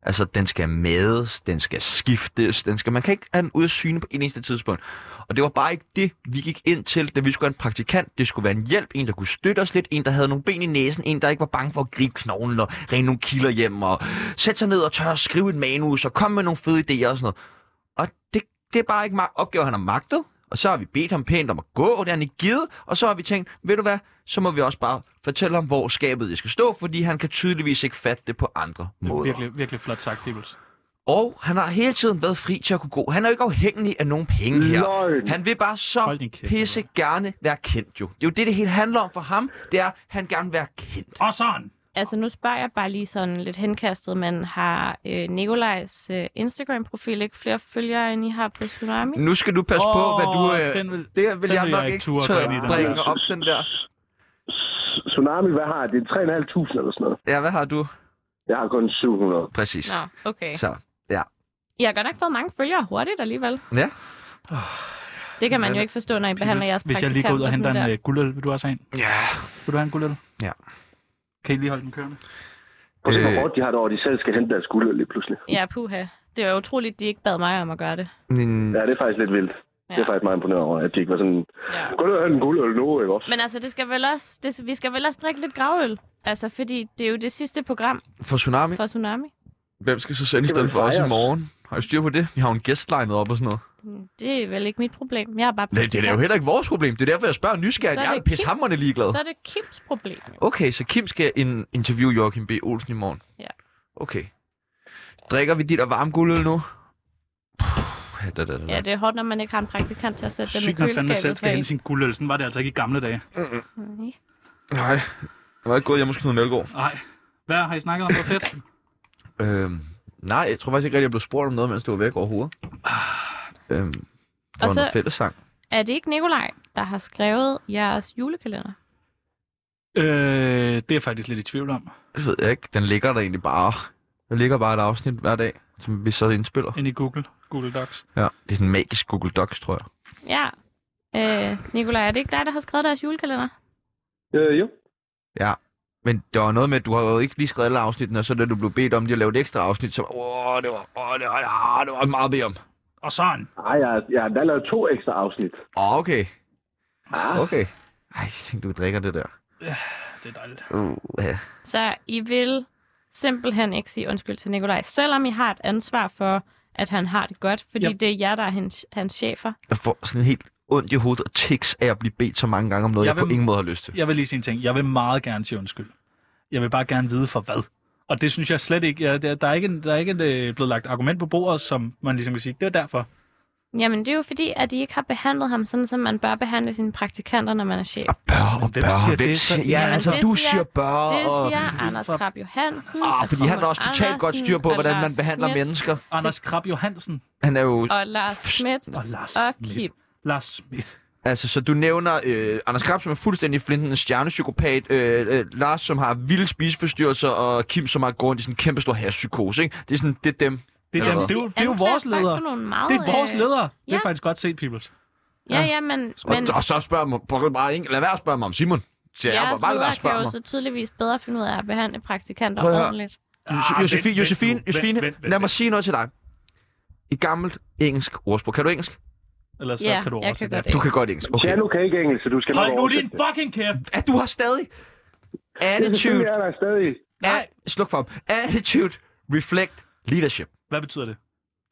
Speaker 2: Altså, den skal mades, den skal skiftes, den skal... Man kan ikke have den ude af syne på en eneste tidspunkt. Og det var bare ikke det, vi gik ind til, da vi skulle have en praktikant. Det skulle være en hjælp, en, der kunne støtte os lidt, en, der havde nogle ben i næsen, en, der ikke var bange for at gribe knoglen og rene nogle kilder hjem og sætte sig ned og tør at skrive et manus og komme med nogle fede idéer og sådan noget. Og det, det er bare ikke mag- opgave, han har magtet. Og så har vi bedt ham pænt om at gå, og det har han ikke givet. Og så har vi tænkt, ved du hvad, så må vi også bare fortælle ham, hvor skabet det skal stå, fordi han kan tydeligvis ikke fatte det på andre
Speaker 3: Det er
Speaker 2: måder.
Speaker 3: virkelig, virkelig flot sagt, Peoples.
Speaker 2: Og han har hele tiden været fri til at kunne gå. Han er jo ikke afhængig af nogen penge her.
Speaker 9: Løgn.
Speaker 2: Han vil bare så pisse gerne være kendt jo. Det er jo det, det hele handler om for ham. Det er, at han gerne vil være kendt.
Speaker 3: Og sådan.
Speaker 4: Altså, nu spørger jeg bare lige sådan lidt henkastet, men har øh, Nikolajs øh, Instagram-profil ikke flere følgere, end I har på Tsunami?
Speaker 2: Nu skal du passe på,
Speaker 4: Åh,
Speaker 2: hvad du... Øh,
Speaker 4: den vil-
Speaker 2: det vil
Speaker 4: den
Speaker 2: jeg
Speaker 4: vil
Speaker 2: nok
Speaker 4: jeg ikke
Speaker 2: ikke
Speaker 4: turde gå ind i,
Speaker 2: tør
Speaker 4: den
Speaker 2: bringe
Speaker 4: der.
Speaker 2: op, den der.
Speaker 9: Tsunami, hvad har jeg? det? er 3.500 eller sådan noget.
Speaker 2: Ja, hvad har du?
Speaker 9: Jeg har kun 700.
Speaker 2: Præcis.
Speaker 4: Nå, okay.
Speaker 2: Så, ja.
Speaker 4: Jeg har godt nok fået mange følgere hurtigt alligevel.
Speaker 2: Ja.
Speaker 4: Det kan man
Speaker 3: Men-
Speaker 4: jo ikke forstå, når I behandler jeres
Speaker 3: Hvis jeg lige går ud og henter en øh, guldøl, vil du også have en?
Speaker 2: Ja.
Speaker 3: Vil du have en guldøl?
Speaker 2: Ja.
Speaker 3: Kan I lige holde den kørende?
Speaker 9: Og
Speaker 2: Øh.
Speaker 9: det var hårdt, de har det over, de selv skal hente deres guld lige pludselig.
Speaker 4: Ja, puha. Det er jo utroligt, de ikke bad mig om at gøre det.
Speaker 2: Mm.
Speaker 9: Ja, det er faktisk lidt vildt. Ja. Det er faktisk meget imponeret over, at de ikke var sådan...
Speaker 4: Ja.
Speaker 9: Gå ned og hente en guldøl nu, ikke også?
Speaker 4: Men altså, det skal vel også, det, vi skal vel også drikke lidt gravøl. Altså, fordi det er jo det sidste program
Speaker 2: For Tsunami,
Speaker 4: fra Tsunami.
Speaker 2: hvem skal så sende i stedet for os i morgen? Har I styr på det? Vi har jo en gæstlinet op og sådan noget.
Speaker 4: Det er vel ikke mit problem. Jeg er bare
Speaker 2: Nej, det er jo heller ikke vores problem. Det er derfor, jeg spørger nysgerrigt.
Speaker 4: Så er
Speaker 2: Jeg er
Speaker 4: det
Speaker 2: pisse hammerne ligeglad.
Speaker 4: Så er det Kims problem.
Speaker 2: Okay, så Kim skal in- interviewe Joachim B. Olsen i morgen.
Speaker 4: Ja.
Speaker 2: Okay. Drikker vi dit og varme guldøl nu? Puh, da, da, da, da.
Speaker 4: Ja, det er hårdt, når man ikke har en praktikant til at sætte
Speaker 3: Sygt,
Speaker 4: dem
Speaker 3: man
Speaker 4: i
Speaker 3: fandme
Speaker 4: køleskabet.
Speaker 3: selv
Speaker 4: Mm-hmm.
Speaker 3: skal
Speaker 4: bag.
Speaker 3: hente sin guldøl. Sådan var det altså ikke i gamle dage.
Speaker 4: Nej.
Speaker 2: Nej, jeg var ikke gået hjem hos Knud Melgaard.
Speaker 3: Nej. Hvad har I snakket om på fedt?
Speaker 2: Øhm, nej, jeg tror faktisk ikke rigtig, jeg blev spurgt om noget, mens du var væk overhovedet. Øhm, det var
Speaker 4: Og
Speaker 2: en
Speaker 4: så-
Speaker 2: fællessang.
Speaker 4: Er det ikke Nikolaj, der har skrevet jeres julekalender?
Speaker 3: Øh, det er jeg faktisk lidt i tvivl om.
Speaker 2: Det ved jeg ikke. Den ligger der egentlig bare. Der ligger bare et afsnit hver dag, som vi så indspiller.
Speaker 3: Ind i Google. Google Docs.
Speaker 2: Ja, det er sådan en magisk Google Docs, tror jeg.
Speaker 4: Ja. Øh, Nikolaj, er det ikke dig, der har skrevet deres julekalender?
Speaker 9: Øh, jo.
Speaker 2: Ja. Men der var noget med, at du har jo ikke lige skrevet alle afsnittene, og så da du blev bedt om lige at lave et ekstra afsnit, så åh, det var, åh, det var, åh, det var meget at bede om.
Speaker 3: Og sådan.
Speaker 9: Nej, jeg, jeg har endda lavet to ekstra afsnit.
Speaker 2: Åh, oh, okay. Ah. Okay. Ej, jeg tænkte, du drikker det der.
Speaker 3: Det er dejligt.
Speaker 2: Uh, ja.
Speaker 4: Så I vil simpelthen ikke sige undskyld til Nikolaj, selvom I har et ansvar for, at han har det godt, fordi
Speaker 2: Yep.
Speaker 4: det er jer, der er hans, hans chefer.
Speaker 2: Jeg får sådan helt ondt i hovedet og tiks af at blive bedt så mange gange om noget, jeg, jeg på ingen måde har lyst til.
Speaker 3: Jeg vil lige sige en ting. Jeg vil meget gerne sige undskyld. Jeg vil bare gerne vide for hvad. Og det synes jeg slet ikke. Jeg, der, der er ikke, en- der er ikke en, øh, blevet lagt argument på bordet, som man ligesom kan sige, det er derfor.
Speaker 4: Jamen, det er jo fordi, at I ikke har behandlet ham sådan, som man bør behandle sine praktikanter, når man er chef.
Speaker 2: Bør og
Speaker 3: Hvem
Speaker 2: bør.
Speaker 3: siger
Speaker 2: Hvem
Speaker 3: det så?
Speaker 2: siger, ja,
Speaker 3: Jamen,
Speaker 2: altså,
Speaker 4: det
Speaker 2: du
Speaker 4: siger-
Speaker 2: siger bør.
Speaker 4: Det
Speaker 2: og-
Speaker 4: siger Anders Krab Johansen.
Speaker 2: Ah, fordi han har også totalt
Speaker 4: Andersen
Speaker 2: godt styr på,
Speaker 4: og
Speaker 2: hvordan man
Speaker 4: Lars
Speaker 2: behandler
Speaker 4: Schmidt
Speaker 2: mennesker.
Speaker 3: Anders Krab Johansen.
Speaker 2: Han er jo...
Speaker 4: Og Lars Schmidt
Speaker 3: og, Lars
Speaker 4: og
Speaker 3: Schmidt.
Speaker 4: Kip.
Speaker 3: Lars Schmidt.
Speaker 2: Altså, så du nævner øh, Anders Krab, som er fuldstændig flinten en stjernepsykopat, øh, øh, Lars, som har vilde spiseforstyrrelser, og Kim, som har gået rundt i sådan en kæmpe stor hashpsykose, ikke? Det er sådan, det er dem.
Speaker 3: Det er, dem, det er, jo, det er jo vores
Speaker 4: faktisk
Speaker 3: ledere.
Speaker 4: for nogle meget,
Speaker 3: det er vores
Speaker 4: øh,
Speaker 3: ledere. Det
Speaker 4: ja. Ah,
Speaker 3: er faktisk godt set, Peoples.
Speaker 4: Ja, ja, men, men
Speaker 2: Og, og, så spørger man, prøv bare ikke, lad være at spørge mig om Simon. Så jeg
Speaker 4: jeres
Speaker 2: må bare lade
Speaker 4: ledere
Speaker 2: være at
Speaker 4: kan
Speaker 2: spørge
Speaker 4: jo
Speaker 2: mig.
Speaker 4: så tydeligvis bedre finde ud af at behandle praktikanter
Speaker 2: Prøv at høre.
Speaker 4: ordentligt.
Speaker 3: Ah,
Speaker 2: Jo- Josefine, Josefine, Josefine, lad mig sige noget til dig. I gammelt engelsk ordsprog. Kan du engelsk?
Speaker 3: Eller så
Speaker 4: Ja,
Speaker 3: kan du
Speaker 4: jeg
Speaker 3: også
Speaker 4: kan godt
Speaker 2: Du kan godt engelsk. Okay.
Speaker 9: Tjano kan ikke engelsk, så du skal
Speaker 3: Hold
Speaker 9: nok
Speaker 3: nu
Speaker 9: oversætte
Speaker 3: din
Speaker 9: det.
Speaker 3: fucking kæft!
Speaker 2: At du har stadig attitude.
Speaker 9: Selvfølgelig er der stadig.
Speaker 2: Nej. Sluk for ham. Attitude, reflect, leadership.
Speaker 3: Hvad betyder det?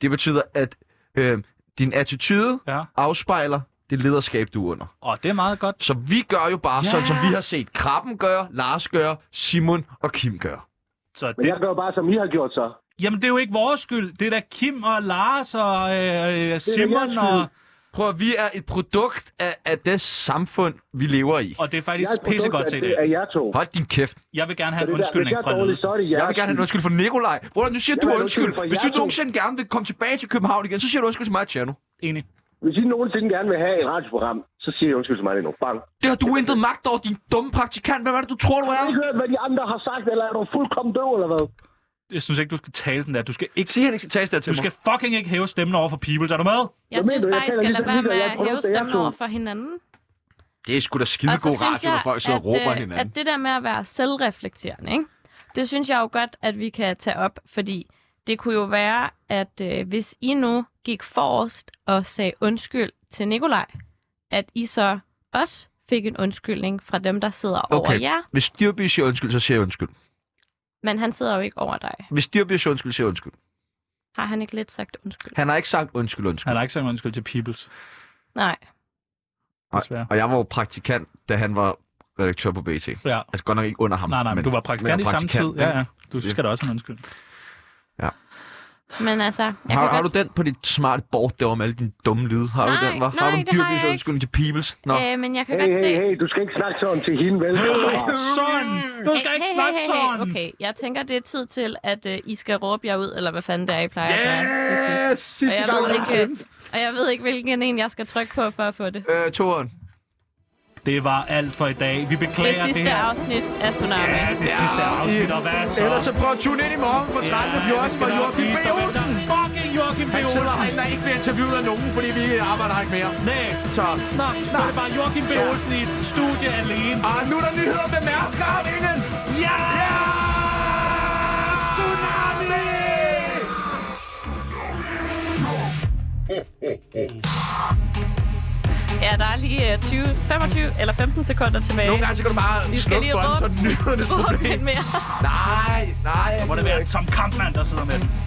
Speaker 2: Det betyder, at øh, din attitude
Speaker 3: ja.
Speaker 2: afspejler det lederskab, du er under.
Speaker 3: Og det er meget godt.
Speaker 2: Så vi gør jo bare
Speaker 3: Ja.
Speaker 2: ja. sådan, som vi har set Krabben gøre, Lars gøre, Simon og Kim gøre.
Speaker 3: Så det,
Speaker 9: Men jeg gør bare, som I har gjort så.
Speaker 3: Jamen, det er jo ikke vores skyld. Det er da Kim og Lars og øh, øh, Simon og...
Speaker 2: Prøv at, vi er et produkt af, af det samfund, vi lever i.
Speaker 3: Og det er
Speaker 9: Jeg
Speaker 3: faktisk
Speaker 9: er et produkt
Speaker 3: pissegodt
Speaker 9: af
Speaker 3: set
Speaker 9: det-
Speaker 3: af.
Speaker 9: af jer to.
Speaker 2: Hold din kæft.
Speaker 3: Jeg vil gerne
Speaker 9: Så
Speaker 3: have
Speaker 9: det
Speaker 3: en
Speaker 9: der-
Speaker 3: undskyldning
Speaker 9: hvis jeg er
Speaker 3: fra
Speaker 9: dårlig,
Speaker 3: ledelsen.
Speaker 9: så er det jeres
Speaker 2: Jeg vil gerne have en undskyld for Nikolaj. Hvordan nu siger
Speaker 9: Jeg
Speaker 2: du
Speaker 9: vil have en
Speaker 2: undskyld?
Speaker 9: undskyld for
Speaker 2: Hvis
Speaker 9: jer
Speaker 2: du
Speaker 9: to.
Speaker 2: nogensinde gerne vil komme tilbage til København igen, så siger du undskyld til mig, Tjerno.
Speaker 3: Enig.
Speaker 9: Hvis I nogensinde gerne vil have et radioprogram, så siger jeg undskyld til mig lige nu. Bang.
Speaker 2: Det har du intet magt over, din dumme praktikant. Hvad er det, du tror, du
Speaker 9: Har du
Speaker 2: er?
Speaker 9: ikke hørt, hvad de andre har sagt, eller er du fuldkommen død, eller hvad?
Speaker 3: Jeg synes ikke, du skal tale den der. Du skal ikke...
Speaker 2: Sig, han ikke skal tale den til
Speaker 3: Du skal fucking ikke hæve stemmen over for people. Er du med?
Speaker 9: mener
Speaker 4: Jeg synes
Speaker 9: du? Jeg
Speaker 4: bare, I
Speaker 9: taler
Speaker 4: skal
Speaker 9: lige
Speaker 4: lade
Speaker 9: så lige,
Speaker 4: være med
Speaker 9: og jeg
Speaker 4: at
Speaker 9: prøver
Speaker 4: hæve
Speaker 9: begge
Speaker 4: stemmen
Speaker 9: to.
Speaker 4: over for hinanden.
Speaker 2: Det er sgu da skide
Speaker 4: Og så
Speaker 2: god
Speaker 4: synes
Speaker 2: radio,
Speaker 4: jeg,
Speaker 2: når folk sidder og råber
Speaker 4: at, øh,
Speaker 2: hinanden.
Speaker 4: at det der med at være selvreflekterende, ikke? det synes jeg jo godt, at vi kan tage op, fordi det kunne jo være, at øh, hvis I nu gik forrest og sagde undskyld til Nikolaj, at I så også fik en undskyldning fra dem, der sidder over
Speaker 2: Okay,
Speaker 4: jer,
Speaker 2: hvis Dyrby siger undskyld, så siger jeg undskyld.
Speaker 4: men han sidder jo ikke over dig.
Speaker 2: Hvis Dyrby siger undskyld, siger jeg undskyld.
Speaker 4: Har han ikke lidt sagt undskyld?
Speaker 2: Han har ikke sagt undskyld, undskyld.
Speaker 3: Han har ikke sagt undskyld til peoples.
Speaker 4: Nej.
Speaker 3: Desværre.
Speaker 2: Og jeg var jo praktikant, da han var redaktør på BT.
Speaker 3: Ja.
Speaker 2: Altså godt nok ikke under ham.
Speaker 3: Nej, nej, men du var praktikant i
Speaker 2: jeg var
Speaker 3: samme tid.
Speaker 2: praktikant,
Speaker 3: Ja,
Speaker 2: ikke?
Speaker 3: ja. Du skal da også have en undskyld.
Speaker 4: Men altså, jeg kan
Speaker 2: Har,
Speaker 4: godt...
Speaker 2: har du den på dit smarte board derovre med alle dine dumme lyde? Har
Speaker 4: Nej,
Speaker 2: du den, var?
Speaker 4: nej,
Speaker 2: har du en
Speaker 4: det har jeg
Speaker 2: dyrbys
Speaker 4: ikke.
Speaker 2: undskyldning til Peoples? Nå.
Speaker 4: Øh, men jeg kan
Speaker 9: Hey,
Speaker 4: godt se...
Speaker 9: hey, hey, du skal ikke snakke sådan til hende, vel?
Speaker 3: Sådan! Du skal ikke snakke sådan!
Speaker 4: Okay, jeg tænker, det er tid til, at øh, I skal råbe jer ud, eller hvad fanden det er, I plejer at gøre til sidst.
Speaker 2: Yes! Sidste
Speaker 4: og jeg
Speaker 2: gang
Speaker 4: ved ikke,
Speaker 2: nogensinde.
Speaker 4: øh, og jeg ved ikke, hvilken en jeg skal trykke på for at få det.
Speaker 2: Øh, toeren.
Speaker 3: Det var alt for i dag. Vi beklager
Speaker 4: Det
Speaker 3: det.
Speaker 4: sidste afsnit af Tsunami.
Speaker 3: Ja, det sidste afsnit, og hvad så?
Speaker 2: Ellers så prøv at tune ind i morgen på 13.
Speaker 3: Ja, vi
Speaker 2: 14
Speaker 3: skal
Speaker 2: for
Speaker 3: nok
Speaker 2: Joachim
Speaker 3: vise
Speaker 2: B.
Speaker 3: dig, hvem der
Speaker 2: Olsen.
Speaker 3: Fucking Joachim B.
Speaker 2: Han sidder
Speaker 3: Olsen!
Speaker 2: herinde og ikke bliver interviewet af nogen, fordi vi arbejder her ikke mere.
Speaker 3: Nej,
Speaker 2: Så,
Speaker 3: nå, så er det bare Joachim B. Olsen i et studie alene.
Speaker 2: og nu er der nyheder med Mærsker og Vinden.
Speaker 3: Ja!
Speaker 2: Tsunami!
Speaker 4: Ja, der er lige øh, 20, 25 eller 15 sekunder tilbage.
Speaker 2: Nogle gange så kan du bare
Speaker 4: Vi skal
Speaker 2: slukke
Speaker 4: lige
Speaker 2: for den,
Speaker 4: råbe,
Speaker 2: så nyhederne
Speaker 4: råbe lidt mere.
Speaker 2: Nej, nej.
Speaker 3: Må det være Tom Kampmann, der sidder med den.